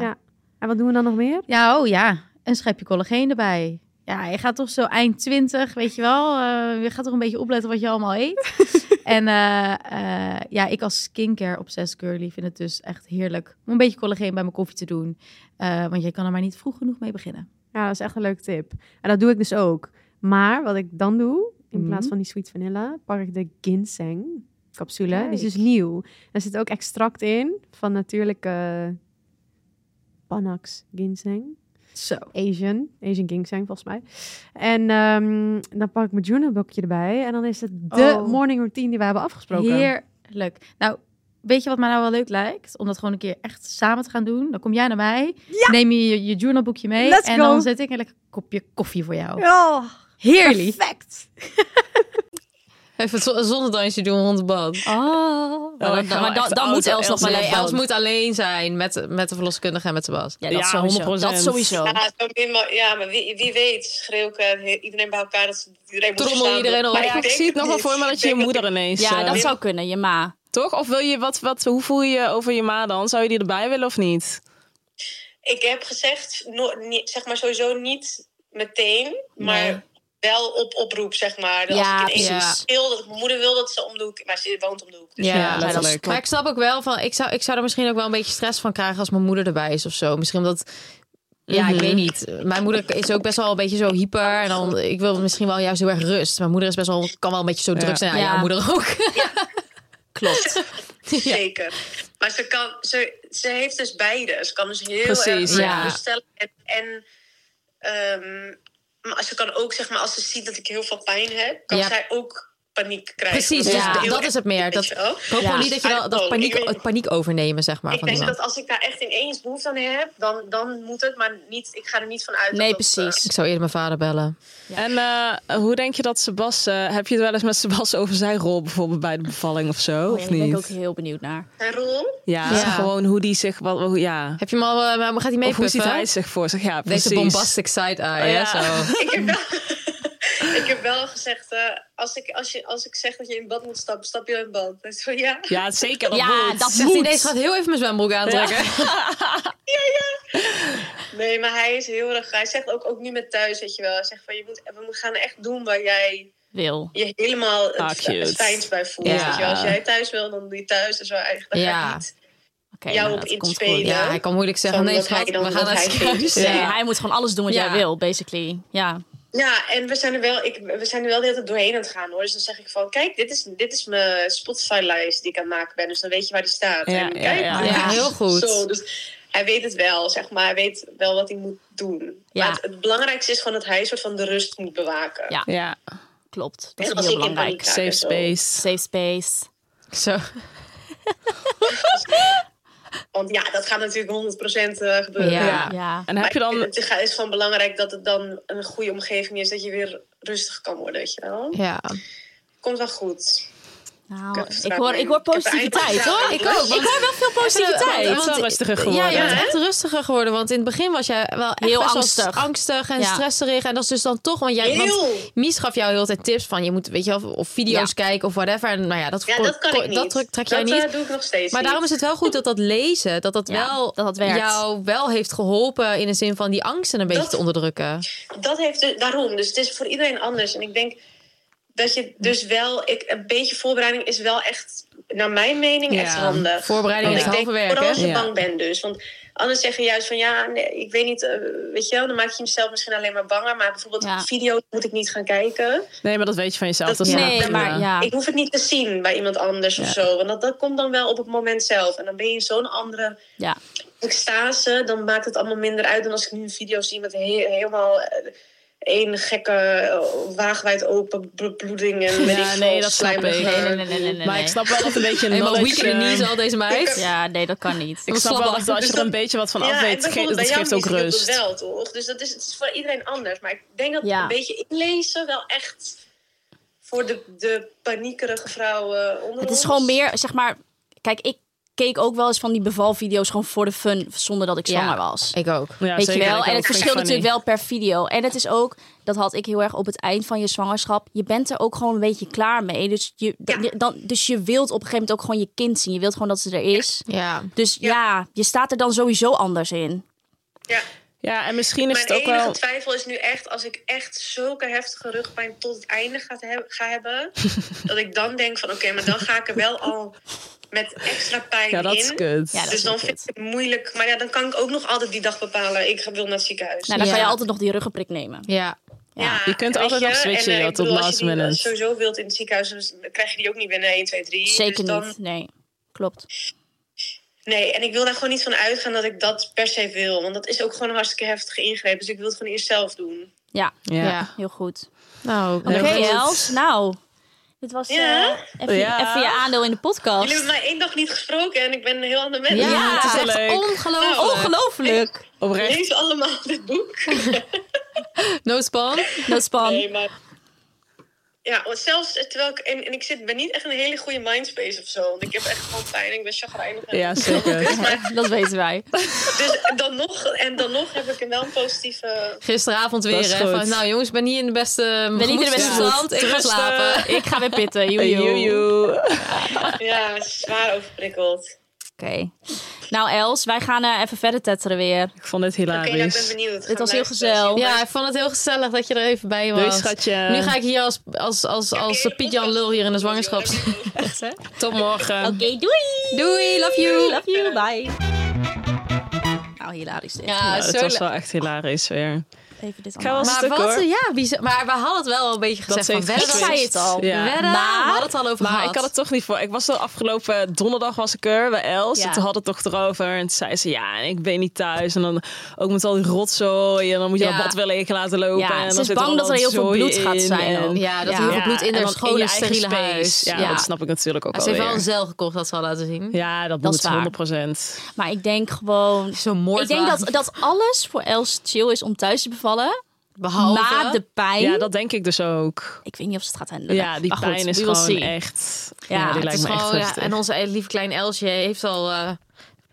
Speaker 7: Ja.
Speaker 8: ja.
Speaker 7: En wat doen we dan nog meer?
Speaker 8: oh ja. Een schepje collageen erbij. Ja, je gaat toch zo eind 20, weet je wel. eh, je gaat toch een beetje opletten wat je allemaal eet. en eh, eh, ja, ik als skincare obsessed girly vind het dus echt heerlijk om een beetje collageen bij mijn koffie te doen. Eh, want je kan er maar niet vroeg genoeg mee beginnen.
Speaker 7: Ja, dat is echt een leuke tip. En dat doe ik dus ook. Maar wat ik dan doe, in
Speaker 8: Mhm.
Speaker 7: plaats van die sweet vanilla, pak ik de ginseng capsule. Die is dus
Speaker 8: Kijk.
Speaker 7: nieuw. Er zit ook extract in van natuurlijke Panax ginseng.
Speaker 8: Zo.
Speaker 7: Asian, Asian ginseng volgens mij. En ehm, dan pak ik mijn journalboekje erbij. En dan is het de
Speaker 8: Oh.
Speaker 7: morning routine die we hebben afgesproken.
Speaker 8: Heerlijk. Nou, weet je wat mij nou wel leuk lijkt? Om dat gewoon een keer echt samen te gaan doen. Dan kom jij naar mij, neem je je, je journalboekje mee
Speaker 7: Let's
Speaker 8: en
Speaker 7: go.
Speaker 8: dan zet ik een lekker kopje koffie voor jou.
Speaker 7: Oh,
Speaker 8: Heerlijk.
Speaker 7: perfect.
Speaker 1: Even zo- een zonnedansje doen rond het bad.
Speaker 3: Oh.
Speaker 6: Oh,
Speaker 3: Maar
Speaker 6: ik
Speaker 3: dan,
Speaker 6: ga
Speaker 3: maar
Speaker 6: wel
Speaker 3: dan,
Speaker 6: echt
Speaker 3: dan moet
Speaker 6: auto-
Speaker 3: Els nog wel
Speaker 6: Els
Speaker 1: Nee,
Speaker 3: even.
Speaker 1: Els moet alleen zijn met, met de verloskundige en met Sebas.
Speaker 3: Ja, dat
Speaker 6: Ja,
Speaker 3: sowieso.
Speaker 6: 100%.
Speaker 3: Dat sowieso.
Speaker 5: Ja, zo min mo- ja, maar wie, wie weet, schreeuw ik eh, he- iedereen bij elkaar dat ze iedereen moet
Speaker 1: Trommel
Speaker 5: verstaan.
Speaker 1: iedereen op.
Speaker 5: Maar
Speaker 6: Maar
Speaker 5: ik
Speaker 6: ik
Speaker 5: denk
Speaker 6: zie het nog wel
Speaker 5: niet.
Speaker 6: voor me
Speaker 5: Ik
Speaker 6: dat je je
Speaker 5: denk
Speaker 6: moeder ineens...
Speaker 3: Ja,
Speaker 6: eh,
Speaker 3: dat zou kunnen. Je ma.
Speaker 6: Toch? Of wil je wat, wat, hoe voel je je over je ma dan? Zou je die erbij willen of niet?
Speaker 5: Ik heb gezegd, no- niet- zeg maar sowieso niet meteen, maar
Speaker 1: Nee.
Speaker 5: wel op oproep, zeg maar. Dat
Speaker 3: Ja,
Speaker 5: als ik
Speaker 1: precies.
Speaker 5: ineens wil dat ik mijn moeder wil dat ze om de hoek, maar ze woont om de hoek. Dus
Speaker 1: Ja,
Speaker 6: Ja,
Speaker 1: maar dat
Speaker 6: letterlijk.
Speaker 1: Maar ik snap ook wel van, ik zou, ik zou er misschien ook wel een beetje stress van krijgen als mijn moeder erbij is of zo. Misschien omdat, ja, ik
Speaker 6: Mhm.
Speaker 1: weet niet. Mijn moeder is ook best wel een beetje zo hyper. En dan, ik wil misschien wel juist heel erg rust. Mijn moeder is best wel, kan wel een beetje zo druk zijn. Ja,
Speaker 3: Ja.
Speaker 1: jouw moeder ook.
Speaker 3: Klopt.
Speaker 5: Zeker. Maar ze, kan, ze, ze heeft dus beide. Ze kan dus heel
Speaker 6: Precies,
Speaker 5: erg
Speaker 1: ja.
Speaker 5: bestellen. En, en ehm, maar ze kan ook, zeg maar, als ze ziet dat ik heel veel pijn heb, kan
Speaker 1: Ja.
Speaker 5: zij ook paniek krijgen.
Speaker 1: Precies,
Speaker 5: Dat
Speaker 1: dus
Speaker 5: heel
Speaker 1: dat
Speaker 5: erg,
Speaker 1: is het meer.
Speaker 5: weet
Speaker 1: Dat-
Speaker 5: je wel.
Speaker 1: Ik hoop gewoon niet dat je
Speaker 5: I
Speaker 1: dat,
Speaker 5: don't
Speaker 1: dat
Speaker 5: know.
Speaker 1: paniek,
Speaker 5: Ik weet-
Speaker 1: het paniek overnemen, zeg maar,
Speaker 5: Ik
Speaker 1: van
Speaker 5: denk
Speaker 1: iemand.
Speaker 5: dat als ik daar echt ineens behoefte aan heb, dan, dan moet het. Maar niet, ik ga er niet van uit.
Speaker 3: Nee,
Speaker 5: dat dat, eh,
Speaker 3: precies.
Speaker 1: Ik zou eerder mijn vader bellen.
Speaker 6: En eh, hoe denk je dat Sebas... eh, heb je het wel eens met Sebas over zijn rol bijvoorbeeld bij de bevalling of zo?
Speaker 3: Oh, ja,
Speaker 6: of
Speaker 3: daar
Speaker 6: niet?
Speaker 3: ben ik ook heel benieuwd naar.
Speaker 5: Zijn rol?
Speaker 6: Ja,
Speaker 1: Ja.
Speaker 6: gewoon hoe die zich... Wat, hoe- ja.
Speaker 1: Heb je hem al, eh, maar gaat hij mee
Speaker 6: Of hoe ziet
Speaker 1: puffen?
Speaker 6: hij zich voor zich? Ja, precies. Oh
Speaker 1: Deze bombastic side-eye,
Speaker 6: Ja.
Speaker 1: ja. zo.
Speaker 5: ik, heb wel, ik heb wel gezegd, eh, als, ik, als, je, als ik zeg dat je in bad moet stappen, stap je in bad. Hij is van ja.
Speaker 6: Ja, zeker. Dat
Speaker 3: Ja,
Speaker 6: moet.
Speaker 3: dat
Speaker 1: Zegt hij, deze gaat heel even mijn zwembroek aantrekken.
Speaker 5: Nee, maar hij is heel erg. Hij zegt ook, ook nu met thuis, weet je wel. Hij zegt van je moet, we gaan echt doen waar jij
Speaker 3: Wil.
Speaker 5: je helemaal het,
Speaker 6: Ah, cute.
Speaker 5: het fijnst bij voelt.
Speaker 1: Ja.
Speaker 5: weet je wel. Als jij thuis wil, dan doe je thuis en zo eigenlijk. Dan ga
Speaker 1: Ja.
Speaker 5: ik niet.
Speaker 3: Oké,
Speaker 5: Jou
Speaker 3: nou, dat
Speaker 5: op
Speaker 3: komt
Speaker 5: inspelen.
Speaker 3: goed.
Speaker 1: Ja, hij kan moeilijk zeggen,
Speaker 5: Zo,
Speaker 1: nee
Speaker 5: wat hij
Speaker 1: schat, we
Speaker 5: dan-
Speaker 1: gaan
Speaker 5: wat
Speaker 1: naar
Speaker 5: hij
Speaker 1: het
Speaker 5: vindt.
Speaker 1: ziekenhuis.
Speaker 3: Nee,
Speaker 1: Ja.
Speaker 3: hij moet gewoon alles doen wat
Speaker 1: Ja.
Speaker 3: jij wil, basically. Ja.
Speaker 5: Ja, en we zijn er wel, ik, we zijn er wel de hele tijd doorheen aan het gaan hoor. Dus dan zeg ik van, kijk, dit is, dit is mijn Spotify-lijst die ik aan het maken ben. Dus dan weet je waar die staat.
Speaker 6: Ja,
Speaker 5: en
Speaker 6: ja,
Speaker 5: kijk,
Speaker 6: ja.
Speaker 5: dit
Speaker 1: Ja,
Speaker 5: is
Speaker 1: heel goed.
Speaker 5: Zo, dus hij weet het wel, zeg maar. Hij weet wel wat hij moet doen.
Speaker 3: Ja.
Speaker 5: Maar het, het belangrijkste is gewoon dat hij een soort van de rust moet bewaken.
Speaker 3: Ja.
Speaker 6: Ja,
Speaker 3: Klopt. Dat
Speaker 5: En
Speaker 3: is
Speaker 5: als
Speaker 3: heel
Speaker 5: ik in
Speaker 3: belangrijk.
Speaker 5: paniek raak
Speaker 6: safe
Speaker 5: en zo.
Speaker 6: space.
Speaker 3: Safe space.
Speaker 1: Zo.
Speaker 5: Want ja, dat gaat natuurlijk 100% eh, gebeuren.
Speaker 1: Ja.
Speaker 3: Ja. ja.
Speaker 6: En
Speaker 5: Maar eh,
Speaker 6: heb je dan...
Speaker 5: het is gewoon belangrijk dat het dan een goede omgeving is. Dat je weer rustig kan worden, weet je wel.
Speaker 1: Ja.
Speaker 5: Komt wel goed.
Speaker 3: Nou,
Speaker 5: heb
Speaker 3: ik hoor, ik hoor
Speaker 5: Ik heb er
Speaker 3: positiviteit
Speaker 5: eigenlijk-
Speaker 3: hoor. Ik ook. Ik hoor wel veel
Speaker 1: Ja,
Speaker 3: positiviteit.
Speaker 6: Het is wel rustiger
Speaker 1: Ja,
Speaker 6: geworden,
Speaker 1: je bent
Speaker 5: hè?
Speaker 1: echt rustiger geworden. Want in het begin was jij wel echt
Speaker 3: Heel
Speaker 1: best wel
Speaker 3: angstig.
Speaker 1: angstig en
Speaker 3: Ja.
Speaker 1: stresserig. En dat is dus dan toch... Want, jij, want
Speaker 5: Heel!
Speaker 1: Mies gaf jou heel de tijd tips van... Je moet, weet je wel, of video's
Speaker 3: Ja.
Speaker 1: kijken of whatever. En nou ja, dat,
Speaker 5: Ja,
Speaker 1: kon-
Speaker 5: dat kan
Speaker 1: kon-
Speaker 5: ik niet.
Speaker 1: dat trek, trek jij
Speaker 5: Dat,
Speaker 1: niet.
Speaker 5: eh, doe ik nog steeds
Speaker 1: maar
Speaker 5: niet.
Speaker 1: daarom is het wel goed dat dat lezen... Dat dat
Speaker 3: Ja,
Speaker 1: wel
Speaker 3: dat dat werkt.
Speaker 1: jou wel heeft geholpen... in de zin van die angsten een beetje
Speaker 5: Dat-
Speaker 1: te onderdrukken.
Speaker 5: dat heeft dus, daarom. Dus het is voor iedereen anders. En ik denk dat je dus wel, ik, een beetje voorbereiding is wel echt, naar mijn mening, echt handig.
Speaker 1: Voorbereiding is
Speaker 5: Want
Speaker 1: het
Speaker 5: ik
Speaker 1: halve werk,
Speaker 5: denk, vooral als
Speaker 1: hè?
Speaker 5: je
Speaker 6: Ja.
Speaker 5: bang bent dus. Want anders zeg je juist van, ja, nee, ik weet niet, eh, weet je wel, dan maak je jezelf misschien alleen maar banger. Maar bijvoorbeeld
Speaker 3: Ja.
Speaker 5: video's moet ik niet gaan kijken.
Speaker 6: Nee, maar dat weet je van jezelf. Dat
Speaker 5: Dat-
Speaker 6: snap
Speaker 3: nee,
Speaker 6: ik,
Speaker 3: maar
Speaker 6: eh.
Speaker 3: ja.
Speaker 5: Ik hoef het niet te zien bij iemand anders of zo. Want dat, dat komt dan wel op het moment zelf. En dan ben je in zo'n andere
Speaker 3: Ja.
Speaker 5: extase, dan maakt het allemaal minder uit dan als ik nu een video zie met he- helemaal eh, één gekke eh, waagwijd open bl- bloeding en weet
Speaker 6: Ja,
Speaker 5: ik veel,
Speaker 6: nee, dat snap
Speaker 5: slijmerig,
Speaker 6: ik.
Speaker 5: eh,
Speaker 3: Nee, nee, nee, nee, nee, nee.
Speaker 6: Maar ik snap wel dat een beetje
Speaker 1: Helemaal
Speaker 6: knowledge,
Speaker 1: weaker in
Speaker 6: eh,
Speaker 1: knees al deze meid.
Speaker 3: Ja, nee, dat kan niet.
Speaker 6: Ik snap wel
Speaker 1: Slap-
Speaker 6: dat als je er een beetje wat van af
Speaker 5: en
Speaker 6: weet, ge-
Speaker 5: bijvoorbeeld bij
Speaker 6: dat
Speaker 5: jou
Speaker 6: geeft ook
Speaker 5: misschien doet
Speaker 6: rust.
Speaker 5: dat wel, toch? Dus dat is, het is voor iedereen anders. Maar ik denk dat
Speaker 3: Ja.
Speaker 5: een beetje inlezen wel echt voor de, de paniekerige vrouwen onder
Speaker 3: Het
Speaker 5: ons.
Speaker 3: is gewoon meer, zeg maar... Kijk, ik keek ook wel eens van die bevalvideo's gewoon voor de fun, zonder dat ik
Speaker 1: Ja.
Speaker 3: zwanger was.
Speaker 1: Ik ook.
Speaker 6: Ja,
Speaker 3: Weet
Speaker 6: zeker.
Speaker 3: je wel?
Speaker 6: Ik
Speaker 3: En
Speaker 6: ook.
Speaker 3: het
Speaker 6: Vind ik
Speaker 3: verschilt
Speaker 6: funny.
Speaker 3: natuurlijk wel per video. En het is ook, dat had ik heel erg op het eind van je zwangerschap. Je bent er ook gewoon een beetje klaar mee. Dus je, dan, dan, dus je wilt op een gegeven moment ook gewoon je kind zien. Je wilt gewoon dat ze er is.
Speaker 1: Ja.
Speaker 3: Dus ja, je staat er dan sowieso anders in.
Speaker 5: Ja.
Speaker 6: Ja, en misschien is
Speaker 5: Mijn
Speaker 6: het ook
Speaker 5: enige
Speaker 6: wel...
Speaker 5: twijfel is nu echt als ik echt zulke heftige rugpijn tot het einde ga, he- ga hebben. dat ik dan denk van oké, maar dan ga ik er wel al met extra pijn
Speaker 6: Ja, dat
Speaker 5: in.
Speaker 6: is kut.
Speaker 3: Ja, dat
Speaker 5: dus
Speaker 3: is
Speaker 5: dan
Speaker 3: ook
Speaker 5: vind ik het moeilijk. Maar ja, dan kan ik ook nog altijd die dag bepalen. Ik ga- wil naar het ziekenhuis.
Speaker 3: Nou, dan
Speaker 1: Ja.
Speaker 3: kan je altijd nog die ruggenprik nemen.
Speaker 1: Ja.
Speaker 5: Ja,
Speaker 6: Je kunt
Speaker 5: weet
Speaker 6: altijd nog switchen,
Speaker 5: en, eh,
Speaker 6: joh,
Speaker 5: ik
Speaker 6: tot
Speaker 5: bedoel,
Speaker 6: last
Speaker 5: Als je die
Speaker 6: minute.
Speaker 5: eh, sowieso wilt in het ziekenhuis, dan krijg je die ook niet binnen 1, 2, 3.
Speaker 3: Zeker
Speaker 5: dus dan,
Speaker 3: niet. Nee, klopt.
Speaker 5: Nee, en ik wil daar gewoon niet van uitgaan dat ik dat per se wil. Want dat is ook gewoon een hartstikke heftige ingreep. Dus ik wil het gewoon eerst zelf doen.
Speaker 3: Ja,
Speaker 6: Ja.
Speaker 1: Ja.
Speaker 3: heel goed.
Speaker 1: Nou,
Speaker 3: Oké,
Speaker 1: heel goed.
Speaker 3: Els. Nou, dit was eh,
Speaker 5: Ja.
Speaker 3: even,
Speaker 6: Ja.
Speaker 3: even je aandeel in de podcast.
Speaker 5: Jullie hebben mij één dag niet gesproken en ik ben een heel ander mens.
Speaker 1: Ja,
Speaker 3: Ja,
Speaker 1: het is
Speaker 6: het is
Speaker 1: echt
Speaker 6: leuk.
Speaker 1: ongelooflijk.
Speaker 3: Ongelooflijk.
Speaker 6: Oprecht.
Speaker 5: Lees allemaal dit boek.
Speaker 1: Noodspan.
Speaker 3: Noodspan.
Speaker 5: Nee, maar... Ja, want zelfs terwijl ik... En, en ik zit, ben niet echt een hele goede mindspace of zo. Want ik heb echt gewoon pijn. Ik ben chagrijnig. en-
Speaker 6: Ja, zeker.
Speaker 3: Dat weten wij.
Speaker 5: Dus dan nog, en dan nog heb ik een wel een positieve...
Speaker 1: Gisteravond
Speaker 6: Dat
Speaker 1: weer.
Speaker 6: is
Speaker 1: hè,
Speaker 6: goed.
Speaker 1: van, nou jongens, ik ben niet in de beste
Speaker 3: niet in de beste
Speaker 1: gemoedstoestand. Ik ga
Speaker 6: Trusten.
Speaker 1: slapen.
Speaker 3: Ik ga weer pitten. Joejoe.
Speaker 6: Joejoe.
Speaker 5: Ja, zwaar overprikkeld.
Speaker 3: Oké. Nou, Els, wij gaan eh, even verder tetteren weer.
Speaker 6: Ik vond het
Speaker 5: Oké, nou, ik ben
Speaker 6: hilarisch.
Speaker 5: benieuwd.
Speaker 3: Dit was heel gezellig.
Speaker 1: Ja, ik vond het heel gezellig dat je er even bij was.
Speaker 6: Doei, schatje.
Speaker 1: Nu ga ik hier als, als, als, als Piet-Jan Lul hier in de zwangerschap.
Speaker 6: Tot morgen.
Speaker 3: Oké, doei.
Speaker 1: Doei, love you.
Speaker 3: Love you. Bye. Nou, hilarisch dit.
Speaker 1: Ja,
Speaker 6: Ja,
Speaker 1: zo
Speaker 6: het was
Speaker 1: leuk.
Speaker 6: wel echt hilarisch weer.
Speaker 3: Even dit
Speaker 6: Ik ga wel
Speaker 3: allemaal.
Speaker 1: Maar,
Speaker 6: stuk,
Speaker 1: wat,
Speaker 6: hoor.
Speaker 1: ja, bizar. maar we hadden het wel een beetje gezegd
Speaker 6: ze
Speaker 1: van
Speaker 6: heeft
Speaker 1: wedden.
Speaker 6: geswitcht.
Speaker 3: Ik zei het al.
Speaker 6: Ja.
Speaker 1: Wedden, we
Speaker 3: Maar-
Speaker 1: hadden het al over
Speaker 6: Maar
Speaker 1: gehad.
Speaker 6: ik had het toch niet voor. Ik was er afgelopen donderdag was ik er bij Els.
Speaker 3: Ja.
Speaker 6: En toen had het toch erover. En toen zei ze, ja, en ik ben niet thuis. En dan ook met al die rotzooi. En dan moet je
Speaker 1: Ja.
Speaker 6: dat bad wel leeg laten lopen.
Speaker 3: Ja,
Speaker 6: en
Speaker 3: ze
Speaker 6: dan
Speaker 3: is
Speaker 6: zit
Speaker 3: bang
Speaker 6: allemaal
Speaker 3: dat er heel veel
Speaker 6: zooi
Speaker 3: bloed gaat
Speaker 6: in.
Speaker 3: zijn
Speaker 6: En-
Speaker 3: ook.
Speaker 1: ja, dat
Speaker 3: Ja.
Speaker 1: heel veel bloed in
Speaker 6: en
Speaker 1: haar
Speaker 6: dan
Speaker 1: schone,
Speaker 6: je eigen
Speaker 1: steriele
Speaker 6: space.
Speaker 1: huis.
Speaker 6: Ja, dat snap ik natuurlijk ook
Speaker 1: Ze heeft wel een
Speaker 6: alweer.
Speaker 1: zeil gekocht, dat ze al laten zien.
Speaker 6: Oh, Ja, dat,
Speaker 3: Dat
Speaker 6: moet
Speaker 3: is waar.
Speaker 6: 100 procent.
Speaker 3: Maar ik denk gewoon...
Speaker 1: Zo'n moord.
Speaker 3: Ik denk dat, dat alles voor Els chill is om thuis te bevallen.
Speaker 1: Behalve...
Speaker 3: Maar de pijn...
Speaker 6: Ja, dat denk ik dus ook.
Speaker 3: Ik weet niet of ze het gaat handelen.
Speaker 6: Ja, die
Speaker 3: Maar goed,
Speaker 6: pijn is
Speaker 3: we will
Speaker 6: gewoon
Speaker 3: see.
Speaker 6: echt... Ja,
Speaker 3: Ja,
Speaker 6: die
Speaker 3: het
Speaker 6: lijkt
Speaker 1: Het is
Speaker 6: me echt
Speaker 1: gewoon, ja,
Speaker 6: heftig.
Speaker 1: en onze e- lieve klein Elsje heeft al eh,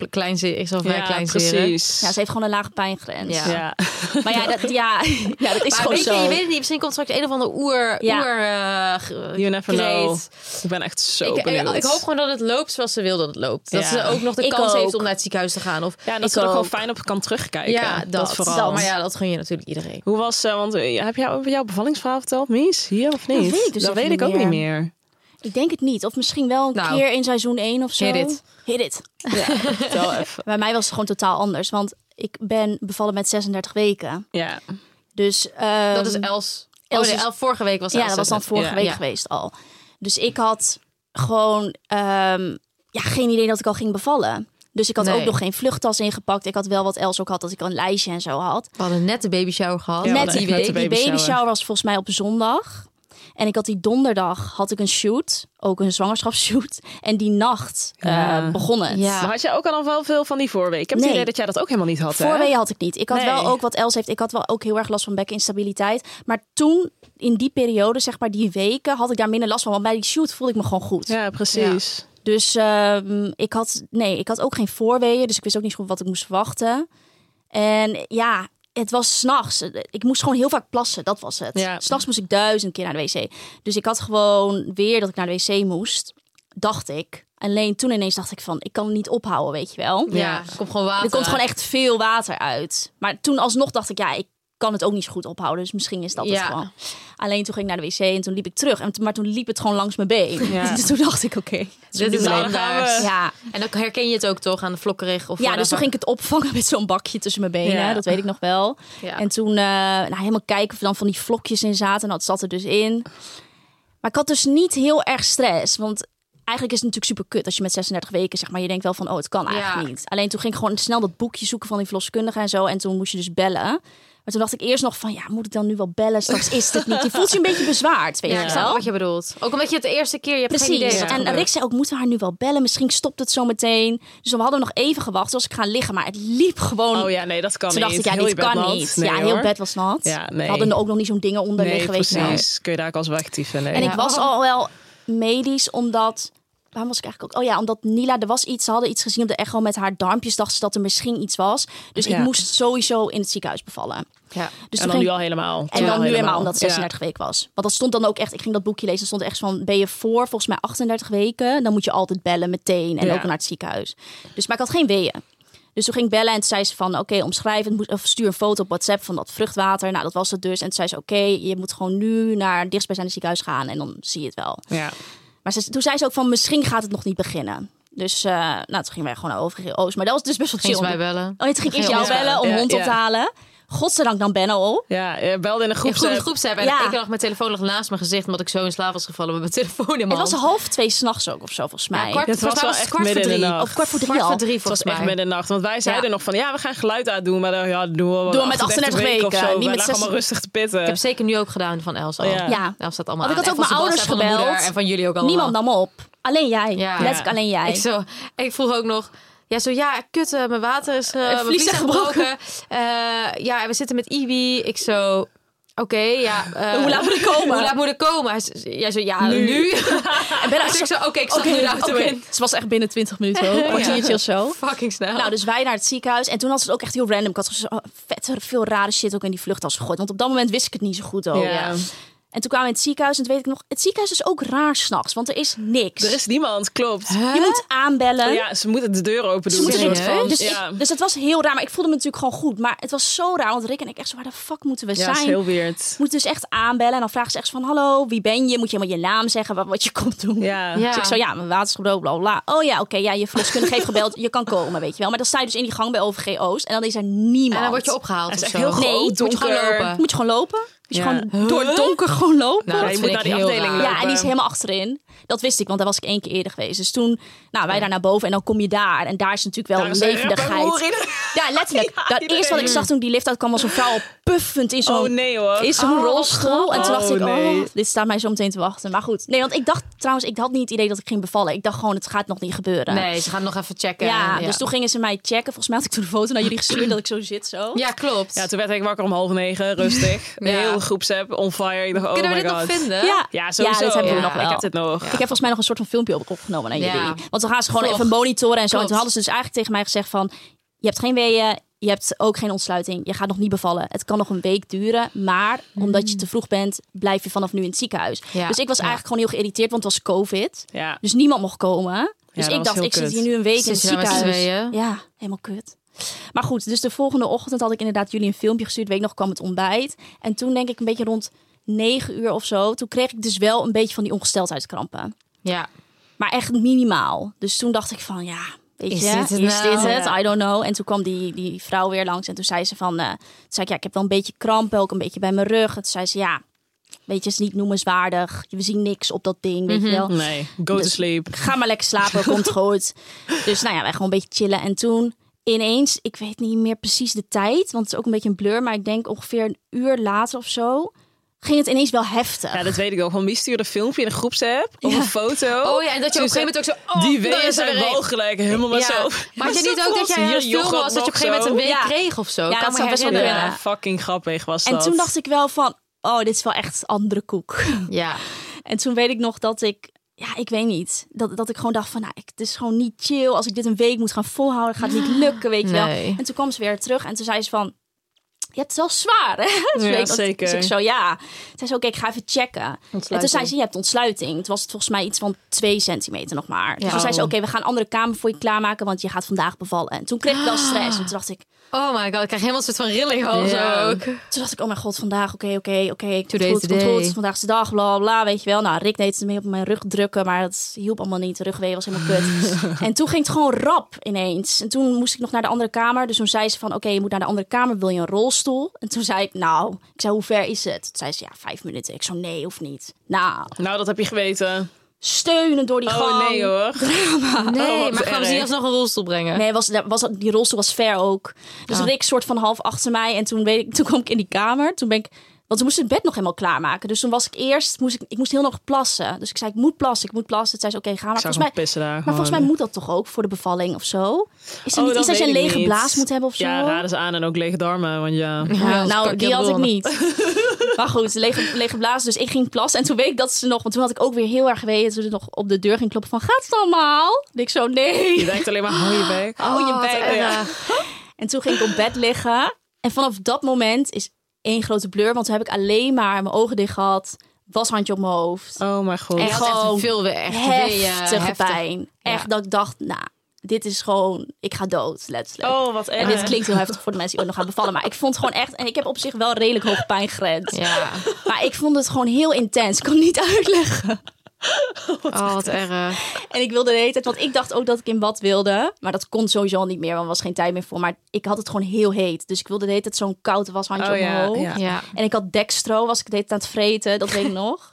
Speaker 1: klein zeer, is al vrij
Speaker 6: ja,
Speaker 1: klein zeer, hè?
Speaker 6: precies.
Speaker 3: Ja, ze heeft gewoon een lage pijngrens.
Speaker 1: Ja.
Speaker 6: Ja.
Speaker 3: Maar ja, dat, ja, ja, dat is
Speaker 1: Maar
Speaker 3: gewoon
Speaker 1: weet je,
Speaker 3: zo.
Speaker 1: je weet het niet. Misschien komt straks een of ander oer...
Speaker 3: Ja.
Speaker 1: oer eh, ge-
Speaker 6: You never know.
Speaker 1: kreet.
Speaker 6: Ik ben echt zo
Speaker 1: Ik, ik,
Speaker 6: benieuwd.
Speaker 1: ik hoop gewoon dat het loopt zoals ze wil dat het loopt. Dat
Speaker 6: Ja.
Speaker 1: ze ook nog de
Speaker 3: Ik
Speaker 1: kans heeft
Speaker 3: ook.
Speaker 1: om naar het ziekenhuis te gaan. Of,
Speaker 6: Ja, en dat
Speaker 3: Ik
Speaker 6: ze er gewoon
Speaker 3: ook.
Speaker 6: fijn op kan terugkijken. dat, vooral.
Speaker 1: Maar ja, dat gun je natuurlijk iedereen.
Speaker 6: Hoe was, eh, want eh, heb jij over jouw bevallingsverhaal verteld, Mies? Hier of niet?
Speaker 3: Dat weet ik dus
Speaker 6: dat
Speaker 3: even
Speaker 6: weet ik
Speaker 3: niet
Speaker 6: ook niet
Speaker 3: meer.
Speaker 6: meer.
Speaker 3: Ik denk het niet. Of misschien wel een
Speaker 1: Nou,
Speaker 3: keer in seizoen 1 of zo.
Speaker 1: hit it.
Speaker 3: Hit it.
Speaker 6: Vertel even.
Speaker 3: Bij mij was het gewoon totaal anders. Want ik ben bevallen met 36 weken.
Speaker 6: Ja.
Speaker 3: Dus ehm,
Speaker 1: dat is Els.
Speaker 3: Els
Speaker 1: oh, nee,
Speaker 3: is-
Speaker 1: El- vorige week was
Speaker 3: Ja,
Speaker 1: Els
Speaker 3: dat was dan
Speaker 1: het.
Speaker 3: vorige
Speaker 6: Ja.
Speaker 3: week
Speaker 1: Ja.
Speaker 3: geweest al. Dus ik had gewoon ehm, ja, geen idee dat ik al ging bevallen. Dus ik had
Speaker 1: Nee.
Speaker 3: ook nog geen vluchttas ingepakt. Ik had wel wat Els ook had, dat ik een lijstje en zo had.
Speaker 1: We hadden net de baby shower gehad.
Speaker 6: Ja, we
Speaker 3: Net
Speaker 6: hadden
Speaker 3: die,
Speaker 6: echt net de
Speaker 3: die
Speaker 6: baby
Speaker 3: baby
Speaker 6: shower.
Speaker 3: shower was volgens mij op zondag. En ik had die donderdag had ik een shoot, ook een zwangerschapsshoot. En die nacht eh,
Speaker 6: Ja.
Speaker 3: begon het.
Speaker 1: Ja.
Speaker 6: Maar had je ook al wel veel van die voorweeën? Ik heb
Speaker 3: Nee.
Speaker 6: het idee dat jij dat ook helemaal niet had. hè?
Speaker 3: Voorweeën had ik niet. Ik had
Speaker 6: Nee.
Speaker 3: wel ook wat Els heeft. Ik had wel ook heel erg last van bekkeninstabiliteit. Maar toen, in die periode, zeg maar die weken, had ik daar minder last van. Want bij die shoot voelde ik me gewoon goed.
Speaker 6: Ja, precies.
Speaker 3: Dus ehm, ik had, nee, ik had ook geen voorweeën. Dus ik wist ook niet zo goed wat ik moest verwachten. En ja, het was s'nachts. Ik moest gewoon heel vaak plassen. Dat was het.
Speaker 6: Ja.
Speaker 3: S'nachts moest ik duizend keer naar de wc. Dus ik had gewoon weer dat ik naar de wc moest. Dacht ik. Alleen toen ineens dacht ik van, ik kan het niet ophouden, weet je wel.
Speaker 1: Ja, er komt gewoon water.
Speaker 3: Er komt gewoon echt veel water uit. Maar toen alsnog dacht ik, ja, ik kan het ook niet zo goed ophouden. Dus misschien is dat het
Speaker 1: Ja.
Speaker 3: gewoon. Alleen toen ging ik naar de wc en toen liep ik terug. En, t- maar toen liep het gewoon langs mijn been.
Speaker 6: Ja.
Speaker 3: Dus toen dacht ik, oké.
Speaker 1: Dit is
Speaker 6: Nou, dan gaan
Speaker 1: anders.
Speaker 6: we.
Speaker 3: Ja,
Speaker 1: En dan herken je het ook toch aan de vlokkerig of
Speaker 3: ja dus toen ging ik het opvangen met zo'n bakje tussen mijn benen.
Speaker 6: Ja.
Speaker 3: Dat weet ik nog wel.
Speaker 1: Ja.
Speaker 3: En toen eh, nou, helemaal kijken of er dan van die vlokjes in zaten. En dat zat er dus in. Maar ik had dus niet heel erg stress. Want eigenlijk is het natuurlijk super kut als je met 36 weken zeg maar. Je denkt wel van, oh, het kan eigenlijk
Speaker 1: Ja.
Speaker 3: niet. Alleen toen ging ik gewoon snel dat boekje zoeken van die verloskundige en zo. En toen moest je dus bellen. Maar toen dacht ik eerst nog van, ja, moet ik dan nu wel bellen? Straks is dit niet. Je voelt je een beetje bezwaard, weet
Speaker 1: Ja, ik
Speaker 3: je
Speaker 1: snap
Speaker 3: wel.
Speaker 1: wat je bedoelt. Ook omdat je het de eerste keer, je hebt geen idee.
Speaker 3: Precies.
Speaker 1: wat er
Speaker 3: En
Speaker 1: gebeurt.
Speaker 3: Rick zei ook, moeten we haar nu wel bellen? Misschien stopt het zo meteen. Dus we hadden nog even gewacht. Toen was ik gaan liggen, maar het liep gewoon.
Speaker 6: Oh ja, nee, dat kan
Speaker 3: Toen dacht
Speaker 6: niet.
Speaker 3: ik, ja,
Speaker 6: Heel
Speaker 3: dit
Speaker 6: je bed
Speaker 3: kan
Speaker 6: nat.
Speaker 3: niet.
Speaker 6: Nee,
Speaker 3: ja, heel
Speaker 6: hoor.
Speaker 3: bed was nat.
Speaker 6: Ja, nee.
Speaker 3: We hadden er ook nog niet zo'n dingen onder
Speaker 6: Nee,
Speaker 3: liggen, weet je wel.
Speaker 6: precies. Kun je daar ook als wegtieven. Nee.
Speaker 3: En ik
Speaker 6: Ja.
Speaker 3: was al wel medisch, omdat... Waarom was ik eigenlijk ook... Oh ja, omdat Nila, er was iets... Ze hadden iets gezien op de echo met haar darmpjes. Dacht ze dat er misschien iets was. Dus
Speaker 6: Ja.
Speaker 3: ik moest sowieso in het ziekenhuis bevallen.
Speaker 1: Ja.
Speaker 6: en
Speaker 3: Dus toen
Speaker 6: dan
Speaker 3: ging-
Speaker 6: nu al helemaal.
Speaker 3: en dan nu helemaal omdat het
Speaker 6: Ja.
Speaker 3: 36 weken was. Want dat stond dan ook echt, ik ging dat boekje lezen, er stond echt van, ben je voor volgens mij 38 weken, dan moet je altijd bellen meteen en
Speaker 6: Ja.
Speaker 3: ook naar het ziekenhuis. Dus maar ik had geen weeën. Dus toen ging ik bellen en toen zei ze van, oké, omschrijf het, moet- of stuur een foto op WhatsApp van dat vruchtwater. Nou, dat was het dus. En toen zei ze, oké, je moet gewoon nu naar het dichtstbijzijnde ziekenhuis gaan en dan zie je het wel.
Speaker 6: Ja.
Speaker 3: Maar ze, toen zei ze ook van, misschien gaat het nog niet beginnen. Dus eh, nou, toen gingen wij gewoon naar overige oost. Maar dat was dus best wel
Speaker 1: Ging ze
Speaker 3: chill.
Speaker 1: mij bellen.
Speaker 3: Oh, ja, toen ging ik eerst
Speaker 1: Ging ons
Speaker 3: jou bellen om
Speaker 6: bellen.
Speaker 3: hond
Speaker 6: Ja,
Speaker 3: op te
Speaker 6: ja.
Speaker 3: halen. Godzijdank dan Benno op.
Speaker 6: Ja, je belde in een groep.
Speaker 1: In groep, groepsapp. En
Speaker 3: Ja.
Speaker 1: ik lag mijn telefoon nog naast mijn gezicht. Omdat ik zo in slaap was gevallen met mijn telefoon in mijn
Speaker 3: Het was
Speaker 1: hand.
Speaker 3: half twee s'nachts ook of zo, volgens mij.
Speaker 1: Ja, kwart,
Speaker 6: Het was
Speaker 1: volgens mij het
Speaker 6: wel echt
Speaker 1: kwart voor
Speaker 6: midden in
Speaker 1: drie.
Speaker 6: de nacht.
Speaker 3: Of kwart voor drie
Speaker 1: Kwart voor
Speaker 3: al.
Speaker 1: drie
Speaker 6: Het was
Speaker 1: volgens
Speaker 6: echt
Speaker 1: mij.
Speaker 6: middernacht. Want wij zeiden nog van, ja, we gaan geluid uitdoen. Maar dan, ja, dat doen we wel
Speaker 3: Doen we met 38
Speaker 6: weken of
Speaker 3: weken,
Speaker 6: zo.
Speaker 3: niet
Speaker 6: Wij
Speaker 3: met
Speaker 6: lagen
Speaker 3: zes-
Speaker 6: allemaal rustig te pitten.
Speaker 1: Ik heb zeker nu ook gedaan van Els al.
Speaker 6: Ja. eh,
Speaker 3: Ja.
Speaker 1: Els staat allemaal
Speaker 3: Want ik
Speaker 1: aan.
Speaker 3: had
Speaker 1: En
Speaker 3: ook
Speaker 1: van Sebastian,
Speaker 3: mijn ouders
Speaker 1: van de moeder
Speaker 3: gebeld.
Speaker 1: En van jullie ook allemaal.
Speaker 3: Niemand nam op. Alleen jij.
Speaker 1: Ja.
Speaker 3: Letterlijk
Speaker 6: Ja.
Speaker 3: alleen jij.
Speaker 1: Ik, zo, ik vroeg ook nog. Ja, zo ja, kut, eh, mijn water is eh, mijn
Speaker 3: vlies
Speaker 1: vlies is
Speaker 3: is gebroken.
Speaker 1: gebroken. Eh, ja, en we zitten met Ibi. Ik zo, oké, ja. eh,
Speaker 3: Hoe laat moet ik komen?
Speaker 1: Hoe laat moet ik komen? Hij z- Jij zo, ja, nu. en ben ik zo, oké, ik zat
Speaker 3: Oké,
Speaker 1: nu de auto
Speaker 3: oké.
Speaker 1: in.
Speaker 3: Ze was echt binnen 20 minuten ook. Kwartiertje of zo.
Speaker 1: Fucking snel.
Speaker 3: Nou, dus wij naar het ziekenhuis. En toen had ze het ook echt heel random. Ik had zo oh, vet veel rare shit ook in die vluchttas gegooid. Want op dat moment wist ik het niet zo goed ook.
Speaker 6: Ja.
Speaker 3: En toen kwamen we in het ziekenhuis. En toen weet ik nog, het ziekenhuis is ook raar s'nachts. Want er is niks.
Speaker 6: Er is niemand, klopt.
Speaker 3: Je moet aanbellen.
Speaker 6: Dus- Ja, ze moeten de deur open doen.
Speaker 3: Ze moeten
Speaker 6: Een
Speaker 3: door-
Speaker 6: soort van.
Speaker 3: dus,
Speaker 6: ja.
Speaker 3: ik, dus het was heel raar. Maar ik voelde me natuurlijk gewoon goed. Maar het was zo raar. Want Rick en ik echt zo, waar de fuck moeten we
Speaker 6: Ja,
Speaker 3: zijn?
Speaker 6: dat is heel weird.
Speaker 3: moet dus echt aanbellen. En dan vragen ze echt van, hallo, wie ben je? Moet je helemaal je naam zeggen, wat, wat je komt doen?
Speaker 6: Ja.
Speaker 1: Ja.
Speaker 3: Dus ik zo, ja, mijn waterschap, bla, bla, bla. Oh ja, oké, ja, je verloskundige heeft gebeld, je kan komen, weet je wel. Maar dan sta je dus in die gang bij OVG Oost en dan is er niemand.
Speaker 1: en dan word je opgehaald
Speaker 6: Het
Speaker 1: of
Speaker 6: is echt
Speaker 1: zo.
Speaker 6: heel groot,
Speaker 3: Nee, moet
Speaker 1: je gewoon
Speaker 6: donker.
Speaker 1: lopen.
Speaker 3: Moet je gewoon lopen? Dus
Speaker 6: Ja.
Speaker 3: gewoon door het donker gewoon lopen?
Speaker 1: Nou,
Speaker 6: Ja,
Speaker 1: dat
Speaker 6: je
Speaker 1: vind
Speaker 6: moet
Speaker 1: ik
Speaker 6: naar
Speaker 1: heel
Speaker 6: die afdeling
Speaker 1: raar.
Speaker 6: lopen.
Speaker 3: Ja, en die is helemaal achterin. Dat wist ik, want daar was ik één keer eerder geweest. Dus toen, nou, wij daar naar boven en dan kom je daar. En daar is natuurlijk wel
Speaker 6: Daar
Speaker 3: een
Speaker 6: is een rep en roer
Speaker 3: levendigheid.
Speaker 6: in.
Speaker 3: Ja, letterlijk. dat
Speaker 6: iedereen.
Speaker 3: eerste wat ik zag toen die lift uitkwam was een vrouw al puffend in zo'n
Speaker 6: Oh, nee, hoor.
Speaker 3: in zo'n
Speaker 6: Oh, wat
Speaker 3: rolstoel. En toen dacht ik,
Speaker 6: grappig. Oh, nee.
Speaker 3: oh, dit staat mij zo meteen te wachten. Maar goed, nee, want ik dacht trouwens, ik had niet het idee dat ik ging bevallen. Ik dacht gewoon, het gaat nog niet gebeuren.
Speaker 1: Nee, ze gaan nog even checken.
Speaker 3: Ja, dus toen gingen ze mij checken. Volgens mij had ik toen een foto naar jullie gestuurd dat ik zo zit zo.
Speaker 1: Ja, klopt.
Speaker 6: Ja, toen werd ik wakker om half negen, rustig. De
Speaker 1: Ja.
Speaker 6: hele groepsapp on fire. Ik dacht, oh
Speaker 1: Kunnen
Speaker 6: my
Speaker 1: we dit
Speaker 6: god.
Speaker 1: nog vinden?
Speaker 3: Ja,
Speaker 6: Ja, sowieso.
Speaker 3: Ja, dit hebben we
Speaker 1: Ja,
Speaker 3: nog wel.
Speaker 6: Ik heb dit nog.
Speaker 3: Ik heb volgens mij nog een soort van filmpje op, opgenomen aan
Speaker 1: Ja.
Speaker 3: jullie. Want dan gaan ze gewoon
Speaker 1: Vlog.
Speaker 3: even monitoren en zo. En
Speaker 1: Klopt.
Speaker 3: toen hadden ze dus eigenlijk tegen mij gezegd van... Je hebt geen weeën, je hebt ook geen ontsluiting. Je gaat nog niet bevallen. Het kan nog een week duren. Maar omdat je te vroeg bent, blijf je vanaf nu in het ziekenhuis.
Speaker 1: Hmm. Ja,
Speaker 3: Dus ik was
Speaker 1: ja.
Speaker 3: eigenlijk gewoon heel geïrriteerd, want het was covid.
Speaker 6: Ja.
Speaker 3: Dus niemand mocht komen. Dus
Speaker 6: dat
Speaker 3: ik
Speaker 6: was
Speaker 3: dacht,
Speaker 6: heel
Speaker 3: ik zit
Speaker 6: kut.
Speaker 3: hier nu een week
Speaker 1: Zit
Speaker 3: in het
Speaker 1: je daar met z'n
Speaker 3: ziekenhuis.
Speaker 1: tweeën?
Speaker 3: Ja, helemaal kut. Maar goed, dus de volgende ochtend had ik inderdaad jullie een filmpje gestuurd. Weet ik nog, kwam het ontbijt. En toen denk ik een beetje rond negen uur of zo. Toen kreeg ik dus wel een beetje van die ongesteldheidskrampen.
Speaker 1: Ja.
Speaker 3: Maar echt minimaal. Dus toen dacht ik van, ja, weet
Speaker 1: Is
Speaker 3: je,
Speaker 1: dit het
Speaker 3: is
Speaker 1: nou?
Speaker 3: dit het?
Speaker 1: Ja.
Speaker 3: I don't know. En toen kwam die, die vrouw weer langs. En toen zei ze van, eh, toen zei ik, ja, ik heb wel een beetje krampen. Ook een beetje bij mijn rug. En toen zei ze, ja, weet je, het is niet noemenswaardig. We zien niks op dat ding, weet
Speaker 1: Mhm,
Speaker 3: je wel.
Speaker 6: Nee, go to
Speaker 3: Dus-
Speaker 6: sleep.
Speaker 3: Ga maar lekker slapen, komt goed. Dus nou ja, wij gewoon een beetje chillen. En toen ineens, ik weet niet meer precies de tijd, want het is ook een beetje een blur, maar ik denk ongeveer een uur later of zo, ging het ineens wel heftig.
Speaker 6: Ja, dat weet ik wel. Gewoon wie stuurde een filmpje in een groepsapp of een foto?
Speaker 1: Oh ja, en dat je op een
Speaker 6: Toen
Speaker 1: gegeven moment ook zo...
Speaker 6: ze-
Speaker 1: Oh,
Speaker 6: Die
Speaker 1: dan
Speaker 6: wegen
Speaker 1: is er
Speaker 6: zijn
Speaker 1: weer een.
Speaker 6: wel gelijk helemaal maar zo.
Speaker 1: Maar had je niet ook dat jij
Speaker 6: Hier,
Speaker 1: aan het filmen
Speaker 6: yoghurt
Speaker 1: was dat je op een
Speaker 6: nog
Speaker 1: gegeven moment een
Speaker 6: zo. Oh,
Speaker 1: week
Speaker 3: Ja.
Speaker 1: kreeg of zo?
Speaker 3: Ja,
Speaker 1: kan
Speaker 3: dat
Speaker 1: me
Speaker 3: zou best wel
Speaker 1: herinneren.
Speaker 3: kunnen.
Speaker 6: Ja, fucking grappig was
Speaker 3: En
Speaker 6: dat.
Speaker 3: toen dacht ik wel van, oh, dit is wel echt andere koek.
Speaker 1: Ja.
Speaker 3: En toen weet ik nog dat ik, ja, ik weet niet, dat, dat ik gewoon dacht van, nou, ik, het is gewoon niet chill. Als ik dit een week moet gaan volhouden, gaat het niet lukken, weet je
Speaker 1: Nee.
Speaker 3: wel. En toen kwam ze weer terug en toen zei ze van, je hebt het wel zwaar, hè? Toen
Speaker 6: Ja,
Speaker 3: weet ik dat-
Speaker 6: zeker.
Speaker 3: Dus ik zo, ja. Toen zei ze, oké, ik ga even checken. En toen zei ze, je hebt ontsluiting. Toen was het volgens mij iets van twee centimeter nog maar. Dus
Speaker 1: Ja.
Speaker 3: toen zei ze, oké, we gaan een andere kamer voor je klaarmaken, want je gaat vandaag bevallen. En toen kreeg ik wel stress. En toen dacht ik,
Speaker 1: Oh my god, ik krijg helemaal een soort van rilling al
Speaker 3: Ja.
Speaker 1: zo ook.
Speaker 3: Toen dacht ik, oh mijn god, vandaag, oké, oké, oké.
Speaker 1: Today
Speaker 3: ik Today goed,
Speaker 1: is the
Speaker 3: komt
Speaker 1: day.
Speaker 3: goed, vandaag is de dag, bla, bla, bla, weet je wel. Nou, Rick deed het mee op mijn rug drukken, maar dat hielp allemaal niet. De rugwee was helemaal kut. en toen ging het gewoon rap ineens. En toen moest ik nog naar de andere kamer. Dus toen zei ze van, oké, je moet naar de andere kamer, wil je een rolstoel? En toen zei ik, nou, ik zei, hoe ver is het? Toen zei ze, ja, vijf minuten. Ik zei, nee, hoeft niet. Nou,
Speaker 6: Nou, dat heb je geweten.
Speaker 3: steunen door die gang.
Speaker 6: Oh nee hoor.
Speaker 1: Nee,
Speaker 6: wat
Speaker 1: maar gaan we ze
Speaker 6: erg.
Speaker 1: niet alsnog een rolstoel brengen?
Speaker 3: Nee, was, daar was, die rolstoel was ver ook. Dus
Speaker 1: Ah.
Speaker 3: Rick soort van half achter mij. En toen, weet ik, toen kwam ik in die kamer. Toen ben ik... Want ze moesten het bed nog helemaal klaarmaken. Dus toen was ik eerst... Moest ik, ik moest heel nog plassen. Dus ik zei, ik moet plassen, ik moet plassen. Toen zei ze, oké, ga maar.
Speaker 6: Ik zou
Speaker 3: Volgens
Speaker 6: gewoon
Speaker 3: mij,
Speaker 6: pissen daar.
Speaker 3: maar volgens mij
Speaker 6: gewoon.
Speaker 3: moet dat toch ook voor de bevalling of zo? Is er
Speaker 6: Oh,
Speaker 3: niet iets dat je
Speaker 6: weet
Speaker 3: een
Speaker 6: ik
Speaker 3: lege
Speaker 6: niet.
Speaker 3: blaas moet hebben of zo?
Speaker 6: Ja, raden ze aan en ook lege darmen, want ja.
Speaker 1: Ja,
Speaker 3: nou, die had ik
Speaker 1: bron.
Speaker 3: niet. maar goed, lege, lege blaas. Dus ik ging plassen. En toen weet ik dat ze nog... Want toen had ik ook weer heel erg geweten. Toen ze nog op de deur ging kloppen van... Gaat het allemaal? En ik zo, nee.
Speaker 6: Je denkt alleen maar, hou je bek.
Speaker 3: Hou Oh, je
Speaker 1: Oh, wat
Speaker 3: bek.
Speaker 1: erg.
Speaker 3: En toen ging ik op bed liggen. En vanaf dat moment is één grote blur. Want toen heb ik alleen maar mijn ogen dicht gehad. Washandje op mijn hoofd.
Speaker 6: Oh mijn god.
Speaker 1: Je
Speaker 3: Echt
Speaker 1: had
Speaker 3: gewoon
Speaker 1: echt veel weer echt weeën,
Speaker 3: heftige
Speaker 1: heftig.
Speaker 3: pijn. Echt dat ik dacht, nou, dit is gewoon... Ik ga dood, letterlijk.
Speaker 6: Oh, wat erg.
Speaker 3: En dit klinkt heel heftig voor de mensen die ooit nog gaan bevallen. Maar ik vond het gewoon echt... En ik heb op zich wel een redelijk hoge pijngrens.
Speaker 1: Ja.
Speaker 3: Maar ik vond het gewoon heel intens. Ik kon het niet uitleggen.
Speaker 1: Oh, wat erg.
Speaker 3: En ik wilde de hele tijd... Want ik dacht ook dat ik in bad wilde. Maar dat kon sowieso al niet meer. Want er was geen tijd meer voor. Maar ik had het gewoon heel heet. Dus ik wilde de hele tijd zo'n koud washandje
Speaker 6: Oh
Speaker 3: op mijn
Speaker 6: ja,
Speaker 3: hoofd.
Speaker 6: ja.
Speaker 1: Ja.
Speaker 3: En ik had dekstro, was ik deed aan het vreten, dat weet ik nog.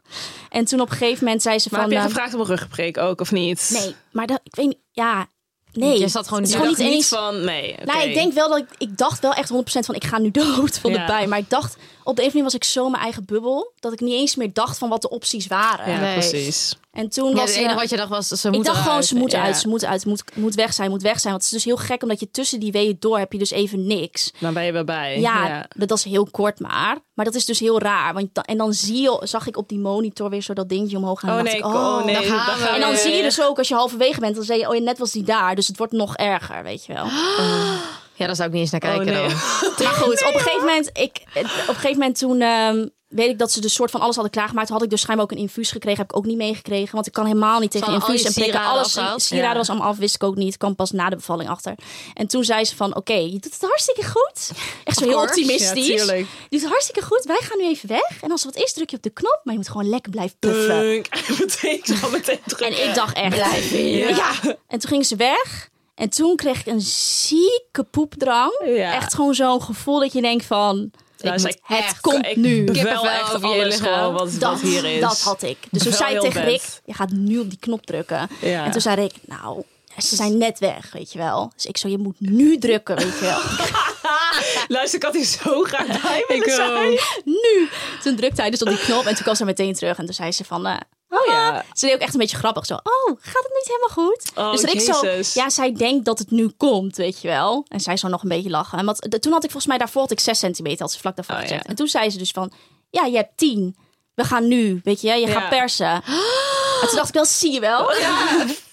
Speaker 3: En toen op een gegeven moment zei ze
Speaker 6: Maar
Speaker 3: van...
Speaker 6: heb je
Speaker 3: eh,
Speaker 6: gevraagd om een ruggebrek ook, of niet?
Speaker 3: nee, maar dat, ik weet niet... Ja, nee.
Speaker 1: Je zat gewoon
Speaker 3: het is
Speaker 1: niet-
Speaker 6: Dacht
Speaker 3: gewoon niet
Speaker 6: niet
Speaker 3: eens...
Speaker 6: van, nee. oké.
Speaker 3: Nou, ik denk wel dat ik... Ik dacht wel echt 100% van ik ga nu dood van
Speaker 6: Ja.
Speaker 3: de pijn. Maar ik dacht... Op de evening was ik zo in mijn eigen bubbel... dat ik niet eens meer dacht van wat de opties waren.
Speaker 6: Ja,
Speaker 1: Nee.
Speaker 6: precies.
Speaker 3: En toen
Speaker 1: Ja,
Speaker 3: was...
Speaker 1: het
Speaker 3: eh,
Speaker 1: enige wat je dacht was, ze
Speaker 3: ik
Speaker 1: moet
Speaker 3: dacht gewoon,
Speaker 1: eruit.
Speaker 3: ze moet
Speaker 1: Ja.
Speaker 3: uit, ze moet uit, moet, moet weg zijn, moet weg zijn. Want het is dus heel gek, omdat je tussen die weeën door heb je dus even niks.
Speaker 6: Dan ben je weer bij. Oh,
Speaker 3: Ja, Dat, dat is heel kort maar. Maar dat is dus heel raar. Want dan, en dan zie je, zag ik op die monitor weer zo dat dingetje omhoog gaan.
Speaker 6: Oh
Speaker 3: En dacht
Speaker 6: nee,
Speaker 3: ik,
Speaker 6: oh nee.
Speaker 1: daar gaan
Speaker 6: daar
Speaker 1: we.
Speaker 6: gaan
Speaker 3: En dan
Speaker 6: we.
Speaker 3: zie je dus ook, als je halverwege bent, dan zeg je, oh ja, net was die daar. Dus het wordt nog erger, weet je wel. Maar
Speaker 1: Ja, daar zou ik niet eens naar
Speaker 6: Oh,
Speaker 1: kijken
Speaker 6: nee.
Speaker 1: dan.
Speaker 3: goed, op een gegeven moment, ik, eh, op een gegeven moment toen... ehm, Weet ik dat ze dus soort van alles hadden klaargemaakt. Toen had ik dus schijnbaar ook een infuus gekregen. Heb ik ook niet meegekregen. Want ik kan helemaal niet tegen
Speaker 1: Van al je
Speaker 3: infuus en prikken.
Speaker 1: sieraden
Speaker 3: Alles
Speaker 1: afgehaald?
Speaker 3: sieraden
Speaker 1: Ja.
Speaker 3: was allemaal af. Wist ik ook niet. Kan pas na de bevalling achter. En toen zei ze van... Oké, je doet het hartstikke goed. Echt zo heel
Speaker 1: course.
Speaker 3: optimistisch.
Speaker 6: Ja, tuurlijk.
Speaker 3: Je doet het hartstikke goed. Wij gaan nu even weg. En als er wat is, druk je op de knop. Maar je moet gewoon lekker blijven puffen.
Speaker 6: Dunk. meteen, ik zal meteen drukken.
Speaker 3: En ik dacht echt... Blijf hier. Ja. En toen ging ze weg. En toen kreeg ik een zieke poepdrang.
Speaker 6: Ja.
Speaker 3: Echt gewoon zo'n gevoel dat je denkt van...
Speaker 6: Nou, zij-
Speaker 3: het
Speaker 1: echt-
Speaker 3: komt
Speaker 6: ik
Speaker 3: nu.
Speaker 6: Wel
Speaker 1: Kippenvel
Speaker 6: echt
Speaker 1: over je
Speaker 6: alles
Speaker 1: lichaam.
Speaker 6: gewoon wat, wat hier is.
Speaker 3: dat had ik. Dus toen
Speaker 6: Wel
Speaker 3: zei ik
Speaker 6: heel
Speaker 3: tegen
Speaker 6: vet.
Speaker 3: Rick, je gaat nu op die knop drukken.
Speaker 6: Ja.
Speaker 3: En toen zei Rick, nou, ze zijn net weg, weet je wel. Dus ik zo, je moet nu drukken, weet je wel.
Speaker 6: Luister, ik had hier zo graag bij willen
Speaker 1: Ik
Speaker 6: zijn.
Speaker 3: nu. Toen drukte hij dus op die knop en toen kwam ze meteen terug. En toen zei ze van... eh, oh ja.
Speaker 6: ja.
Speaker 3: Ze deed ook echt een beetje grappig. Zo, oh, gaat het niet helemaal goed?
Speaker 6: Oh,
Speaker 3: dus ik
Speaker 6: Jezus.
Speaker 3: zo... Ja, zij denkt dat het nu komt, weet je wel. En zij zou nog een beetje lachen. En wat, de- toen had ik volgens mij daarvoor had ik 6 centimeter. Had ze vlak daarvoor
Speaker 6: Oh,
Speaker 3: gezegd.
Speaker 6: ja.
Speaker 3: En toen zei ze dus van... Ja, je hebt 10. We gaan nu, weet je. Je
Speaker 6: Ja. Oh,
Speaker 3: gaat persen. En toen dacht ik wel, zie je wel.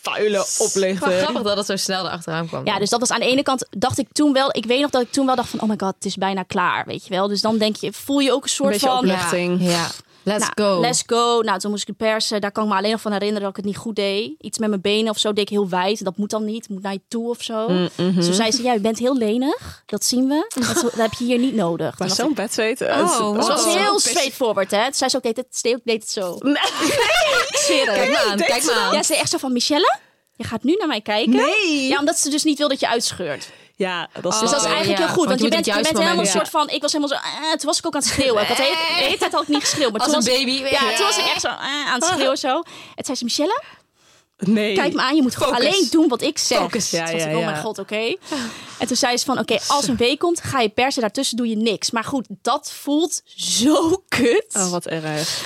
Speaker 6: Vuile
Speaker 1: Maar
Speaker 6: oplichter.
Speaker 1: grappig dat het zo snel erachteraan kwam.
Speaker 3: Ja, dus dat was aan de ene kant dacht ik toen wel. Ik weet nog dat ik toen wel dacht van, oh my god, het is bijna klaar, weet je wel. Dus dan denk je, voel je ook een soort
Speaker 6: Beetje
Speaker 3: van,
Speaker 6: opluchting.
Speaker 1: Ja. ja. Let's
Speaker 3: Nou,
Speaker 1: go.
Speaker 3: Let's go. Nou, toen moest ik persen. Daar kan ik me alleen nog van herinneren dat ik het niet goed deed. Iets met mijn benen of zo deed ik heel wijd. Dat moet dan niet. Moet naar je toe of zo.
Speaker 1: Mm, mhm.
Speaker 3: Dus toen zei ze, ja, u bent heel lenig. Dat zien we. Dat, dat heb je hier niet nodig.
Speaker 6: Maar
Speaker 3: Toen
Speaker 6: zo'n
Speaker 3: dacht
Speaker 6: bedweet.
Speaker 1: Oh,
Speaker 3: ik-
Speaker 1: wat
Speaker 3: Ze was
Speaker 1: een
Speaker 3: heel
Speaker 1: pest-
Speaker 3: straightforward, hè. Toen zei ze ook, deed het, deed, deed het zo.
Speaker 1: Nou. Kijk maar aan, kijk maar aan.
Speaker 3: Ja, ze zei echt zo van, Michelle, je gaat nu naar mij kijken.
Speaker 6: Nee.
Speaker 3: Ja, omdat ze dus niet wil dat je uitscheurt.
Speaker 6: Ja, dat
Speaker 3: Dus
Speaker 6: snap
Speaker 3: dat is
Speaker 6: ik.
Speaker 1: Oh,
Speaker 3: eigenlijk
Speaker 1: ja.
Speaker 3: heel goed.
Speaker 1: Want
Speaker 3: Want
Speaker 1: je
Speaker 3: je
Speaker 1: moet
Speaker 3: bent,
Speaker 1: op
Speaker 3: je
Speaker 1: het
Speaker 3: bent
Speaker 1: juiste
Speaker 3: helemaal een soort
Speaker 1: moment,
Speaker 3: van... Ik was helemaal zo... eh, toen was ik ook aan het schreeuwen. Ik had de hele, de hele tijd had ik niet geschreeuwd. Maar
Speaker 1: Als
Speaker 3: toen
Speaker 1: een
Speaker 3: was,
Speaker 1: baby.
Speaker 3: Ja, toen was ik echt zo eh, aan het schreeuwen zo. Het zei ze, Michelle,
Speaker 6: Nee.
Speaker 3: Kijk me aan, je moet gewoon
Speaker 6: Focus.
Speaker 3: alleen doen wat ik zeg.
Speaker 6: Focus. Ja,
Speaker 3: Toen was
Speaker 6: ja,
Speaker 3: ik, oh
Speaker 6: ja.
Speaker 3: mijn god, oké. En toen zei ze van, oké, als een week komt, ga je persen. Daartussen doe je niks. Maar goed, dat voelt zo kut.
Speaker 6: Oh, wat erg.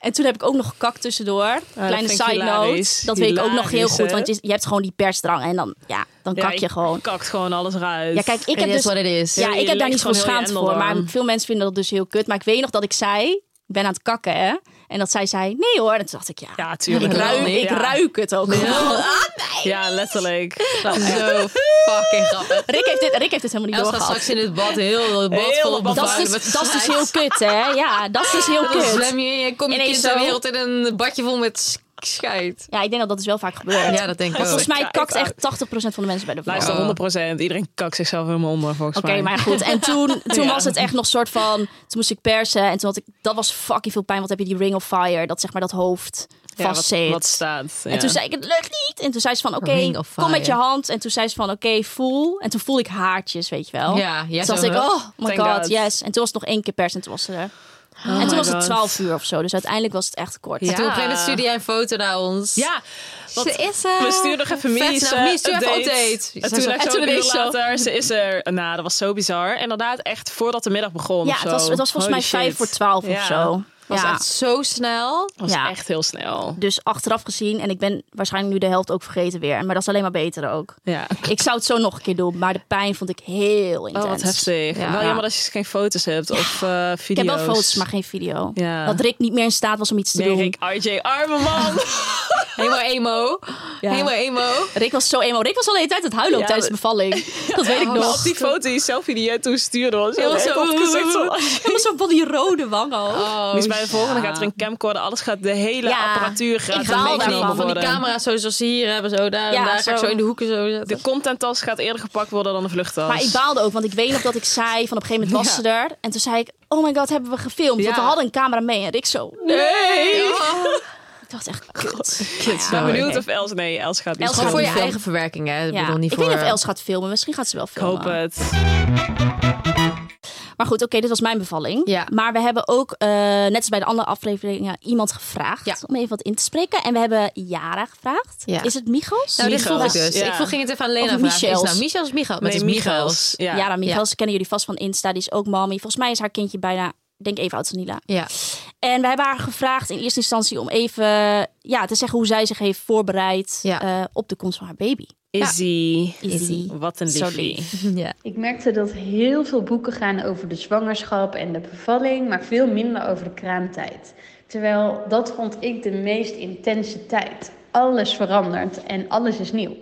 Speaker 3: En toen heb ik ook nog gekakt tussendoor. Kleine
Speaker 6: vind ik
Speaker 3: side
Speaker 6: hilarisch.
Speaker 3: note. Dat weet ik ook nog heel
Speaker 6: Hilarisch,
Speaker 3: goed.
Speaker 6: hè?
Speaker 3: Want je, je hebt gewoon die persdrang. En dan, ja, dan
Speaker 6: Ja,
Speaker 3: kak je
Speaker 6: ik
Speaker 3: gewoon.
Speaker 6: Kakt gewoon alles eruit.
Speaker 3: Ja, kijk, ik
Speaker 1: It
Speaker 3: heb
Speaker 1: is
Speaker 3: dus...
Speaker 1: what it is.
Speaker 3: Ja,
Speaker 6: Ja,
Speaker 3: ik
Speaker 6: je
Speaker 3: heb daar
Speaker 6: legt
Speaker 3: niet zo
Speaker 6: gewoon heel je
Speaker 3: schaamd voor.
Speaker 6: hendel
Speaker 3: Maar
Speaker 6: aan.
Speaker 3: veel mensen vinden dat dus heel kut. Maar ik weet nog dat ik zei... Ik ben aan het kakken, hè? En dat zij zei, nee hoor. En toen dacht ik, ja,
Speaker 6: Ja,
Speaker 3: ik,
Speaker 6: tuurlijk.
Speaker 3: ruik,
Speaker 6: wel.
Speaker 3: ik
Speaker 6: ja.
Speaker 3: ruik het ook. gewoon.
Speaker 6: Ja, letterlijk.
Speaker 1: Zo fucking grappig.
Speaker 3: Rick, heeft dit, Rick heeft dit helemaal niet
Speaker 1: Els gaat
Speaker 3: doorgehad.
Speaker 1: straks in het bad, heel het bad
Speaker 6: Heel
Speaker 1: vol
Speaker 6: bad
Speaker 1: op
Speaker 3: Dat is,
Speaker 1: bevangen
Speaker 3: dus,
Speaker 1: met
Speaker 3: dat is dus
Speaker 1: slijm.
Speaker 3: heel kut, hè? Ja, dat is dus heel
Speaker 1: Dan
Speaker 3: kut.
Speaker 1: zwem je en kom je
Speaker 3: Ineens
Speaker 1: kind
Speaker 3: zo.
Speaker 1: ter wereld in een badje vol met sch- schijt.
Speaker 3: Ja, ik denk dat dat dus wel vaak gebeurt.
Speaker 1: Ja, dat denk ik
Speaker 3: Want
Speaker 1: ook.
Speaker 3: volgens mij
Speaker 6: Kijk
Speaker 3: kakt
Speaker 6: uit.
Speaker 3: echt 80% van de mensen bij de vrouw.
Speaker 6: Luister, 100%. Iedereen kakt zichzelf helemaal onder, volgens
Speaker 3: Oké,
Speaker 6: mij.
Speaker 3: maar goed. En toen, toen was het echt nog soort van... Toen moest ik persen en toen had ik... Dat was fucking veel pijn, want heb je die ring of fire. Dat zeg maar dat hoofd
Speaker 6: Ja, wat-
Speaker 3: vastzit.
Speaker 6: Wat, staat. Ja.
Speaker 3: En toen zei ik, het lukt niet. En toen zei ze van, oké,
Speaker 1: Ring of
Speaker 3: kom met je
Speaker 1: fire.
Speaker 3: hand. En toen zei ze van, oké, voel. En toen voelde ik haartjes, weet je wel.
Speaker 1: Ja, jij
Speaker 3: toen dacht
Speaker 1: zo,
Speaker 3: ik,
Speaker 1: hè?
Speaker 3: oh my
Speaker 6: Thank
Speaker 3: god,
Speaker 6: God.
Speaker 3: yes. En toen was het nog één keer pers en toen was ze er.
Speaker 1: Oh
Speaker 3: en toen was het
Speaker 6: God.
Speaker 3: 12 uur of zo. Dus uiteindelijk was het echt kort.
Speaker 1: Toen op een gegeven moment stuurde jij een foto naar ons.
Speaker 6: Ja, want
Speaker 1: Ze is er.
Speaker 3: Eh,
Speaker 6: we sturen nog even
Speaker 1: Vet,
Speaker 6: Mies
Speaker 1: nou,
Speaker 6: eh,
Speaker 1: Mies, stuur even
Speaker 6: update.
Speaker 1: update.
Speaker 6: En
Speaker 1: Zij
Speaker 6: toen,
Speaker 1: zo-
Speaker 6: echt
Speaker 1: en toen
Speaker 6: zo'n uur
Speaker 1: ineens zo.
Speaker 6: later, ze is er. Nou, dat was zo bizar. Inderdaad, echt voordat de middag begon
Speaker 3: Ja,
Speaker 6: of zo.
Speaker 3: het was, het was volgens
Speaker 6: Holy
Speaker 3: mij 5
Speaker 6: shit.
Speaker 3: voor 12 of
Speaker 6: Ja.
Speaker 3: zo.
Speaker 1: was
Speaker 3: Ja.
Speaker 1: echt zo snel.
Speaker 6: was
Speaker 3: Ja.
Speaker 6: echt heel snel.
Speaker 3: Dus achteraf gezien, en ik ben waarschijnlijk nu de helft ook vergeten weer. Maar dat is alleen maar beter ook.
Speaker 6: Ja.
Speaker 3: Ik zou het zo nog een keer doen, maar de pijn vond ik heel intens.
Speaker 6: Oh, wat heftig.
Speaker 3: Ja.
Speaker 6: Wel jammer dat je dus geen foto's hebt of eh, video's.
Speaker 3: Ik heb wel foto's, maar geen video.
Speaker 6: Ja.
Speaker 3: Dat Rick niet meer in staat was om iets te
Speaker 6: Nee,
Speaker 3: doen.
Speaker 6: Rick, RJ, arme man.
Speaker 1: Helemaal emo. Helemaal emo.
Speaker 3: Rick was zo emo. Rick was al de hele tijd aan het huilen ook
Speaker 6: Ja,
Speaker 3: tijdens de
Speaker 6: dat-
Speaker 3: bevalling. Dat weet ik
Speaker 6: Maar
Speaker 3: nog.
Speaker 6: op die foto, die selfie die jij toen stuurde, was heel
Speaker 1: was
Speaker 6: erg
Speaker 1: zo-
Speaker 6: op het gezicht van-
Speaker 3: Helemaal zo van die rode wangen ook.
Speaker 1: Oh,
Speaker 6: Dus bij de volgende gaat er een camcorder, alles gaat, de hele
Speaker 3: Ja.
Speaker 6: apparatuur gaat
Speaker 3: Ik baal
Speaker 6: meegenomen
Speaker 3: daarvan,
Speaker 1: van
Speaker 6: worden.
Speaker 1: die camera's zo, zoals ze hier hebben. Zo, daar,
Speaker 3: Ja,
Speaker 1: daar ga ik
Speaker 3: zo.
Speaker 1: zo in de hoeken zo zetten.
Speaker 6: De contenttas gaat eerder gepakt worden dan de vluchttas.
Speaker 3: Maar ik baalde ook, want ik weet nog dat ik zei van op een gegeven moment was
Speaker 6: Ja.
Speaker 3: ze er. En toen zei ik, oh my god, hebben we gefilmd? Want we
Speaker 6: Ja.
Speaker 3: hadden een camera mee. En Rick zo,
Speaker 6: Nee!
Speaker 3: ik dacht echt, kut.
Speaker 6: Ik ben benieuwd of Els... Nee, Els gaat niet
Speaker 3: Els
Speaker 1: Gewoon
Speaker 6: filmen.
Speaker 1: voor je
Speaker 3: film.
Speaker 1: eigen verwerking, hè? Ik
Speaker 3: Ja.
Speaker 1: bedoel, niet
Speaker 3: ik
Speaker 1: voor... eh,
Speaker 3: weet niet of Els gaat filmen. Misschien gaat ze wel
Speaker 6: Ik
Speaker 3: filmen.
Speaker 6: hoop het.
Speaker 3: Maar goed, oké, dit was mijn bevalling.
Speaker 1: Ja.
Speaker 3: Maar we hebben ook, eh, net als bij de andere afleveringen, iemand gevraagd
Speaker 1: Ja.
Speaker 3: om even wat in te spreken. En we hebben Jara gevraagd.
Speaker 1: Ja.
Speaker 3: Is het Michels?
Speaker 1: Nou, dit
Speaker 6: Michels,
Speaker 1: vroeg ik dus.
Speaker 6: ja.
Speaker 1: Ik vroeg, ging het even aan
Speaker 3: Of
Speaker 1: Lena vragen. Is het
Speaker 3: Michels.
Speaker 1: nou Michels of Michals? Maar het is Michels.
Speaker 6: Ja.
Speaker 3: Jara Michels, kennen jullie vast van Insta. Die is ook mommy. Volgens mij is haar kindje bijna, denk even oud als Nila.
Speaker 1: Ja.
Speaker 3: En we hebben haar gevraagd in eerste instantie om even ja, te zeggen hoe zij zich heeft voorbereid
Speaker 1: Ja.
Speaker 3: eh, op de komst van haar baby.
Speaker 6: Izzy.
Speaker 3: Izzy.
Speaker 6: Wat een
Speaker 3: Zo
Speaker 6: liefie.
Speaker 3: lief.
Speaker 1: ja.
Speaker 9: Ik merkte dat heel veel boeken gaan over de zwangerschap en de bevalling, maar veel minder over de kraamtijd. Terwijl dat vond ik de meest intense tijd. Alles verandert en alles is nieuw.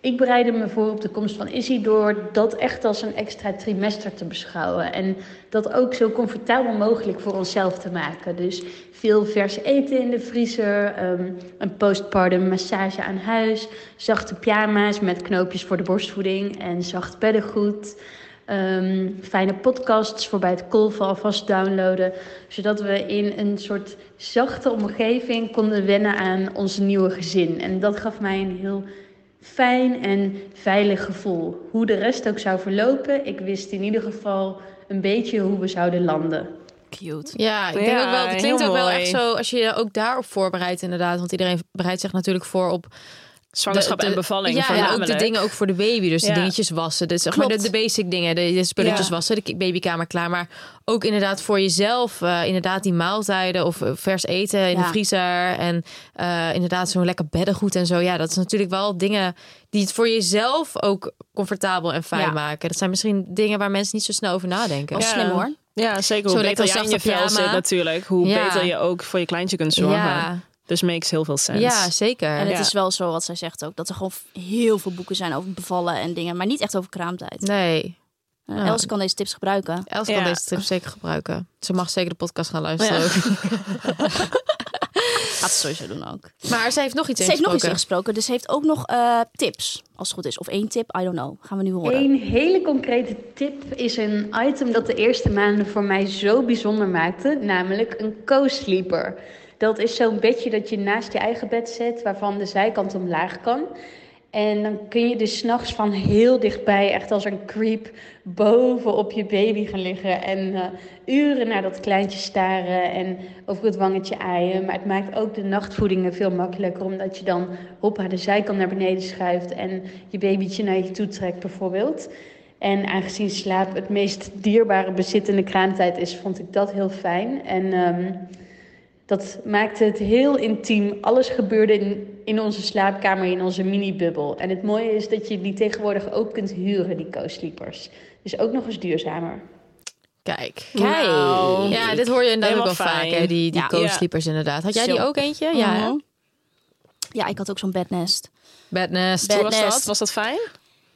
Speaker 9: Ik bereidde me voor op de komst van Izzy door dat echt als een extra trimester te beschouwen. En dat ook zo comfortabel mogelijk voor onszelf te maken. Dus veel vers eten in de vriezer, ehm, een postpartum massage aan huis, zachte pyjama's met knoopjes voor de borstvoeding en zacht beddengoed. Ehm, fijne podcasts voor bij het kolven alvast downloaden, zodat we in een soort zachte omgeving konden wennen aan ons nieuwe gezin. En dat gaf mij een heel fijn en veilig gevoel. Hoe de rest ook zou verlopen, ik wist in ieder geval een beetje hoe we zouden landen.
Speaker 3: Cute.
Speaker 1: Ja, ik denk
Speaker 6: Ja,
Speaker 1: ook wel. Het klinkt
Speaker 6: heel
Speaker 1: ook wel
Speaker 6: mooi.
Speaker 1: echt zo als je je ook daarop voorbereidt, inderdaad. Want iedereen bereidt zich natuurlijk voor op de-
Speaker 6: Zwangerschap
Speaker 1: de-
Speaker 6: en bevalling
Speaker 1: Ja, en ook
Speaker 6: voornamelijk.
Speaker 1: de dingen ook voor de baby. Dus
Speaker 6: Ja.
Speaker 1: de dingetjes wassen. Dus zeg maar de,
Speaker 3: Klopt.
Speaker 1: de basic dingen. De, de spulletjes
Speaker 6: Ja.
Speaker 1: wassen. De babykamer klaar. Maar ook inderdaad voor jezelf. eh, inderdaad die maaltijden of eh, vers eten in
Speaker 3: Ja.
Speaker 1: de vriezer. En eh, inderdaad zo'n lekker beddengoed en zo. Ja, dat is natuurlijk wel dingen die het voor jezelf ook comfortabel en fijn
Speaker 3: Ja.
Speaker 1: maken. Dat zijn misschien dingen waar mensen niet zo snel over nadenken.
Speaker 3: Wel
Speaker 6: Ja.
Speaker 3: slim hoor.
Speaker 6: Ja, zeker.
Speaker 1: Zo
Speaker 6: Hoe
Speaker 1: lekker
Speaker 6: beter jij in je
Speaker 1: zachte
Speaker 6: vel
Speaker 1: pyjama.
Speaker 6: zit natuurlijk, hoe
Speaker 1: Ja.
Speaker 6: beter je ook voor je kleintje kunt zorgen.
Speaker 1: Ja.
Speaker 6: Dus makes heel veel sense.
Speaker 1: Ja, zeker.
Speaker 3: En het
Speaker 6: Ja.
Speaker 3: is wel zo wat zij zegt ook, dat er gewoon heel veel boeken zijn over bevallen en dingen, maar niet echt over kraamtijd.
Speaker 1: Nee.
Speaker 3: Eh, Els kan deze tips gebruiken.
Speaker 1: Els kan
Speaker 6: Ja.
Speaker 1: deze tip zeker gebruiken. Ze mag zeker de podcast gaan luisteren. ook.
Speaker 3: Gaat ze sowieso doen ook.
Speaker 1: Maar ze heeft nog iets
Speaker 3: Ze heeft nog iets
Speaker 1: ingesproken.
Speaker 3: ingesproken, dus ze heeft ook nog eh, tips, als het goed is. Of één tip, I don't know. Gaan we nu horen.
Speaker 9: Een hele concrete tip is een item dat de eerste maanden voor mij zo bijzonder maakte, namelijk een co-sleeper. Dat is zo'n bedje dat je naast je eigen bed zet, waarvan de zijkant omlaag kan. En dan kun je dus s'nachts van heel dichtbij, echt als een creep, boven op je baby gaan liggen. En eh, uren naar dat kleintje staren en over het wangetje aaien. Maar het maakt ook de nachtvoedingen veel makkelijker, omdat je dan hoppa de zijkant naar beneden schuift en je babytje naar je toe trekt bijvoorbeeld. En aangezien slaap het meest dierbare bezit in de kraamtijd is, vond ik dat heel fijn. En ehm, dat maakte het heel intiem. Alles gebeurde in, in onze slaapkamer, in onze mini-bubbel. En het mooie is dat je die tegenwoordig ook kunt huren, die co-sleepers. Dus ook nog eens duurzamer.
Speaker 1: Kijk.
Speaker 3: Kijk. Nou.
Speaker 1: Ja, dit hoor je inderdaad ook
Speaker 3: Helemaal
Speaker 1: wel vaak,
Speaker 3: fijn.
Speaker 1: hè? Die, die
Speaker 3: Ja.
Speaker 1: co-sleepers inderdaad. Had jij die
Speaker 3: Zo.
Speaker 1: ook eentje? Ja. hè?
Speaker 3: Mhm. Ja, ik had ook zo'n bednest.
Speaker 1: Bednest.
Speaker 3: Hoe was dat? Bednest.
Speaker 6: Was dat fijn?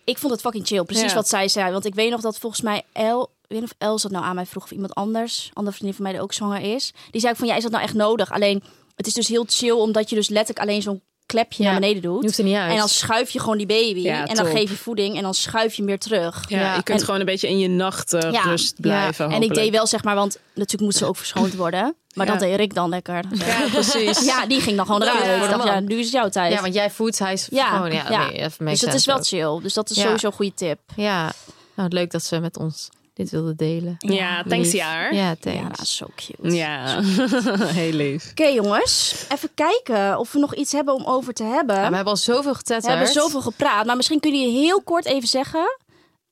Speaker 3: Ik vond het fucking chill. Precies
Speaker 1: Ja.
Speaker 3: wat zij zei. Want ik weet nog dat volgens mij El... Ik weet niet of Els dat nou aan mij vroeg of iemand anders. Andere vriendin van mij die ook zwanger is. Die zei ook van, ja, is dat nou echt nodig? Alleen, het is dus heel chill omdat je dus letterlijk alleen zo'n klepje naar beneden doet.
Speaker 1: hoeft er niet uit.
Speaker 3: En dan schuif je gewoon die baby.
Speaker 6: Ja,
Speaker 3: en dan
Speaker 6: top.
Speaker 3: geef je voeding en dan schuif je hem weer terug.
Speaker 6: Ja, je kunt
Speaker 3: En-
Speaker 6: gewoon een beetje in je nacht eh, rust blijven.
Speaker 3: En ik
Speaker 6: hopelijk.
Speaker 3: deed wel, zeg maar, want natuurlijk moest ze ook verschoond worden. Maar
Speaker 6: Ja.
Speaker 3: dat deed Rick dan lekker.
Speaker 6: Ja, precies.
Speaker 3: Ja, die ging dan gewoon
Speaker 1: Ja,
Speaker 3: eruit.
Speaker 1: ja,
Speaker 3: ik dacht,
Speaker 1: man.
Speaker 3: ja, nu is het jouw tijd.
Speaker 1: Ja, want jij voedt, hij is
Speaker 3: Ja,
Speaker 1: gewoon... Ja,
Speaker 3: ja.
Speaker 1: nee, even
Speaker 3: Dus dat is wel chill. Dus dat is sowieso een goede tip.
Speaker 1: Ja. Nou, leuk dat ze met ons dit wilde delen.
Speaker 6: Ja, thanks,
Speaker 1: Lief.
Speaker 6: Jaar.
Speaker 1: Ja, thanks.
Speaker 3: Ja, dat is zo cute.
Speaker 6: Ja, heel lief.
Speaker 3: Oké, jongens. Even kijken of we nog iets hebben om over te hebben.
Speaker 1: we hebben al zoveel getetterd.
Speaker 3: We hebben zoveel gepraat. Maar misschien kunnen jullie heel kort even zeggen...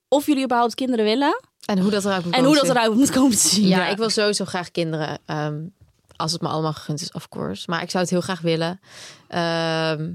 Speaker 3: of jullie überhaupt kinderen willen.
Speaker 1: En hoe dat eruit moet
Speaker 3: En
Speaker 1: komen
Speaker 3: hoe dat
Speaker 1: te zien.
Speaker 3: eruit moet komen te zien.
Speaker 1: Ja, ik wil sowieso graag kinderen. ehm, als het me allemaal gegund is, of course. Maar ik zou het heel graag willen. Ehm,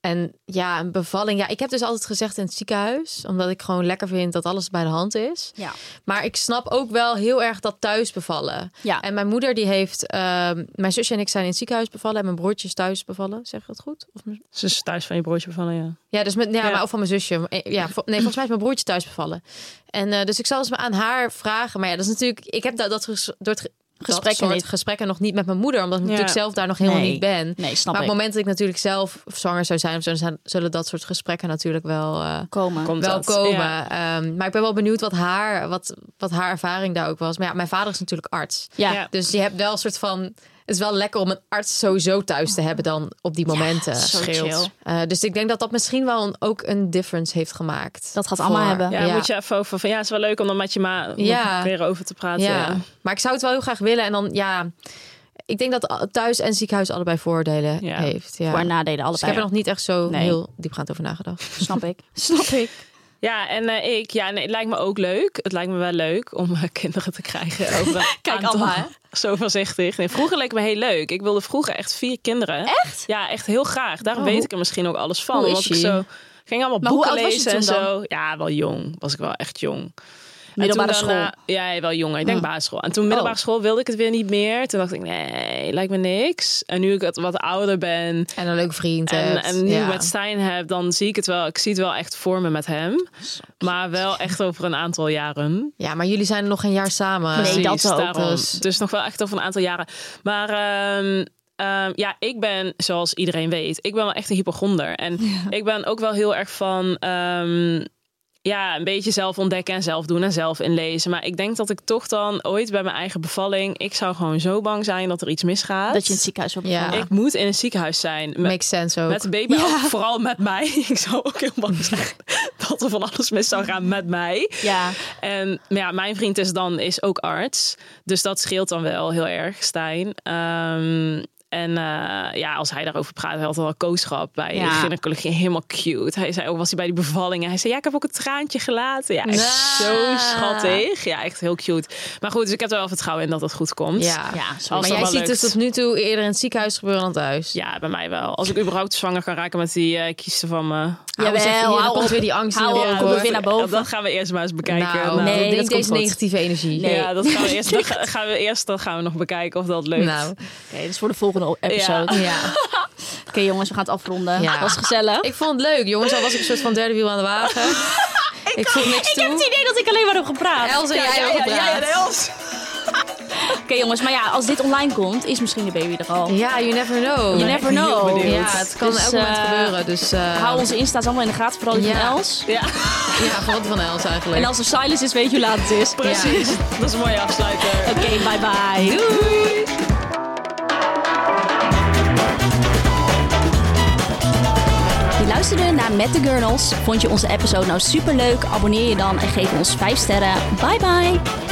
Speaker 1: en ja, een bevalling. Ja, ik heb dus altijd gezegd in het ziekenhuis. Omdat ik gewoon lekker vind dat alles bij de hand is.
Speaker 3: Ja.
Speaker 1: Maar ik snap ook wel heel erg dat thuis bevallen.
Speaker 3: Ja.
Speaker 1: En mijn moeder die heeft... ehm, mijn zusje en ik zijn in het ziekenhuis bevallen. En mijn broertje is thuis bevallen. Zeg ik dat goed? Of mijn
Speaker 6: Ze is thuis van je broodje bevallen, ja.
Speaker 1: ja, dus met, ja, Maar ook van mijn zusje. Eh, Ja, vo- nee, volgens mij is mijn broertje thuis bevallen. En eh, dus ik zal eens aan haar vragen. Maar ja, dat is natuurlijk. Ik heb dat, dat ges- door het ge- dat
Speaker 3: Gesprekken
Speaker 1: soort
Speaker 3: niet.
Speaker 1: gesprekken nog niet met mijn moeder, omdat ik
Speaker 3: Ja.
Speaker 1: natuurlijk zelf daar nog helemaal
Speaker 3: Nee.
Speaker 1: niet ben.
Speaker 3: Nee, snap
Speaker 1: maar op
Speaker 3: ik.
Speaker 1: het moment dat ik natuurlijk zelf zwanger zou zijn, of zo, dan zijn- zullen dat soort gesprekken natuurlijk wel eh,
Speaker 3: Komen. Komt
Speaker 1: wel
Speaker 3: dat,
Speaker 1: komen.
Speaker 3: ja.
Speaker 1: Ehm, maar ik ben wel benieuwd wat haar, wat, wat haar ervaring daar ook was. Maar ja, mijn vader is natuurlijk arts.
Speaker 3: Ja. Ja.
Speaker 1: Dus je hebt wel een soort van. Het is wel lekker om een arts sowieso thuis te hebben dan op die momenten.
Speaker 3: zo
Speaker 1: Scheelt.
Speaker 3: chill.
Speaker 1: Eh, dus ik denk dat dat misschien wel een- ook een difference heeft gemaakt.
Speaker 3: Dat gaat
Speaker 6: Voor- Ja, moet je even over van ja, is wel leuk om dan met je ma nog
Speaker 1: Ja.
Speaker 6: weer over te praten.
Speaker 1: Ja.
Speaker 6: ja.
Speaker 1: Maar ik zou het wel heel graag willen. En dan, ja... Ik denk dat a- thuis en ziekenhuis allebei voordelen
Speaker 6: Ja.
Speaker 1: heeft. Ja.
Speaker 6: Voor- en
Speaker 3: nadelen,
Speaker 1: Dus ik heb
Speaker 6: allebei.
Speaker 1: er nog niet echt zo
Speaker 6: Nee.
Speaker 1: heel diepgaand over nagedacht.
Speaker 3: Snap ik. Snap ik.
Speaker 6: Ja, en eh, ik, ja, nee, het lijkt me ook leuk. Het lijkt me wel leuk om eh, kinderen te krijgen. Over een
Speaker 3: Kijk,
Speaker 6: aantal.
Speaker 3: Anna, hè?
Speaker 6: Zo voorzichtig. Nee, vroeger leek me heel leuk. Ik wilde vroeger echt vier kinderen.
Speaker 3: Echt?
Speaker 6: Ja, echt heel graag. Daarom
Speaker 1: Oh,
Speaker 6: weet
Speaker 1: hoe-
Speaker 6: ik er misschien ook alles van.
Speaker 1: Hoe is
Speaker 6: want ik
Speaker 1: je?
Speaker 6: zo ik ging allemaal
Speaker 1: Maar hoe
Speaker 6: boeken
Speaker 1: oud was je
Speaker 6: lezen en
Speaker 1: toen dan?
Speaker 6: zo. Ja, wel jong. Was ik wel echt jong.
Speaker 3: Middelbare
Speaker 6: en toen dan,
Speaker 3: school.
Speaker 6: eh, ja, wel jong. Ik denk
Speaker 3: Hm.
Speaker 6: basisschool. En toen middelbare
Speaker 3: Oh.
Speaker 6: school wilde ik het weer niet meer. Toen dacht ik, nee, lijkt me niks. En nu ik wat- wat ouder ben.
Speaker 1: En een leuk vriend
Speaker 6: En,
Speaker 1: hebt.
Speaker 6: en nu
Speaker 1: Ja.
Speaker 6: met Stijn heb, dan zie ik het wel. Ik zie het wel echt voor me met hem. Maar wel echt over een aantal jaren.
Speaker 1: Ja, maar jullie zijn nog een jaar samen.
Speaker 6: Precies, daarom.
Speaker 1: Dus-
Speaker 6: Dus nog wel echt over een aantal jaren. Maar ehm, ehm, ja, ik ben, zoals iedereen weet, ik ben wel echt een hypochonder. En ik ben ook wel heel erg van... ehm, ja, een beetje zelf ontdekken en zelf doen en zelf inlezen. Maar ik denk dat ik toch dan ooit bij mijn eigen bevalling... Ik zou gewoon zo bang zijn dat er iets misgaat.
Speaker 3: Dat je in het ziekenhuis wordt
Speaker 6: Ja.
Speaker 3: bevallen.
Speaker 6: Ik moet in een ziekenhuis zijn. Met,
Speaker 1: Makes sense ook.
Speaker 6: Met de baby, ook vooral met mij. Ik zou ook heel bang zijn dat er van alles mis zou gaan met mij.
Speaker 3: Ja.
Speaker 6: En maar ja, mijn vriend is dan is ook arts. Dus dat scheelt dan wel heel erg, Stijn. Ehm, en eh, ja, als hij daarover praat, hij had al een kooschap bij
Speaker 1: Ja.
Speaker 6: gynaecologie. Helemaal cute. Hij zei ook, was hij bij die bevallingen. Hij zei, ja, ik heb ook een traantje gelaten. Ja, echt
Speaker 1: Nou.
Speaker 6: zo schattig. Ja, echt heel cute. Maar goed, dus ik heb er wel vertrouwen in dat het goed komt.
Speaker 1: Ja.
Speaker 6: Als dat
Speaker 1: maar jij
Speaker 6: wel
Speaker 1: ziet het
Speaker 6: lukt.
Speaker 1: tot nu toe eerder in het ziekenhuis gebeuren dan thuis.
Speaker 6: Ja, bij mij wel. Als ik überhaupt zwanger kan raken met die eh, kiezen van me.
Speaker 1: Jawel, zeg je, dan hou komt op. weer die angst Hou in je op, op.
Speaker 3: komt er weer naar boven.
Speaker 6: Dat gaan we eerst maar eens bekijken.
Speaker 1: Nou, nee,
Speaker 6: dat
Speaker 1: niet
Speaker 6: komt
Speaker 1: deze
Speaker 6: goed.
Speaker 1: negatieve energie. Nee.
Speaker 6: Ja, dat gaan we eerst, dat ga- gaan we eerst dat gaan we nog bekijken of dat lukt.
Speaker 1: Nou.
Speaker 3: Oké, dus voor de volgende episode.
Speaker 6: Ja.
Speaker 3: Oké, jongens, we gaan het afronden.
Speaker 1: Ja.
Speaker 3: Het was gezellig.
Speaker 1: Ik vond het leuk, jongens. Al was ik een soort van derde wiel aan de wagen. ik voel niks toe.
Speaker 3: heb het idee dat ik alleen maar heb gepraat.
Speaker 1: Els en jij hebben gepraat.
Speaker 3: Oké, jongens, maar ja, als dit online komt, is misschien de baby er al.
Speaker 1: Ja, you never know.
Speaker 3: You never know.
Speaker 1: Ja, het kan
Speaker 3: Dus,
Speaker 1: elk moment
Speaker 3: eh,
Speaker 1: gebeuren. Dus, eh,
Speaker 3: Hou onze Insta's allemaal in de gaten, vooral die
Speaker 1: Ja.
Speaker 3: van Els.
Speaker 6: Ja.
Speaker 1: Ja, vooral die van Els eigenlijk.
Speaker 3: En als er silence is, weet je hoe laat het is.
Speaker 6: Precies.
Speaker 3: Ja.
Speaker 6: Dat is een mooie afsluiter.
Speaker 3: Oké, bye bye.
Speaker 6: Doei.
Speaker 1: Je
Speaker 3: Luisterde naar Met de Girls. Vond je onze episode nou superleuk? Abonneer je dan en geef ons 5 sterren. Bye bye!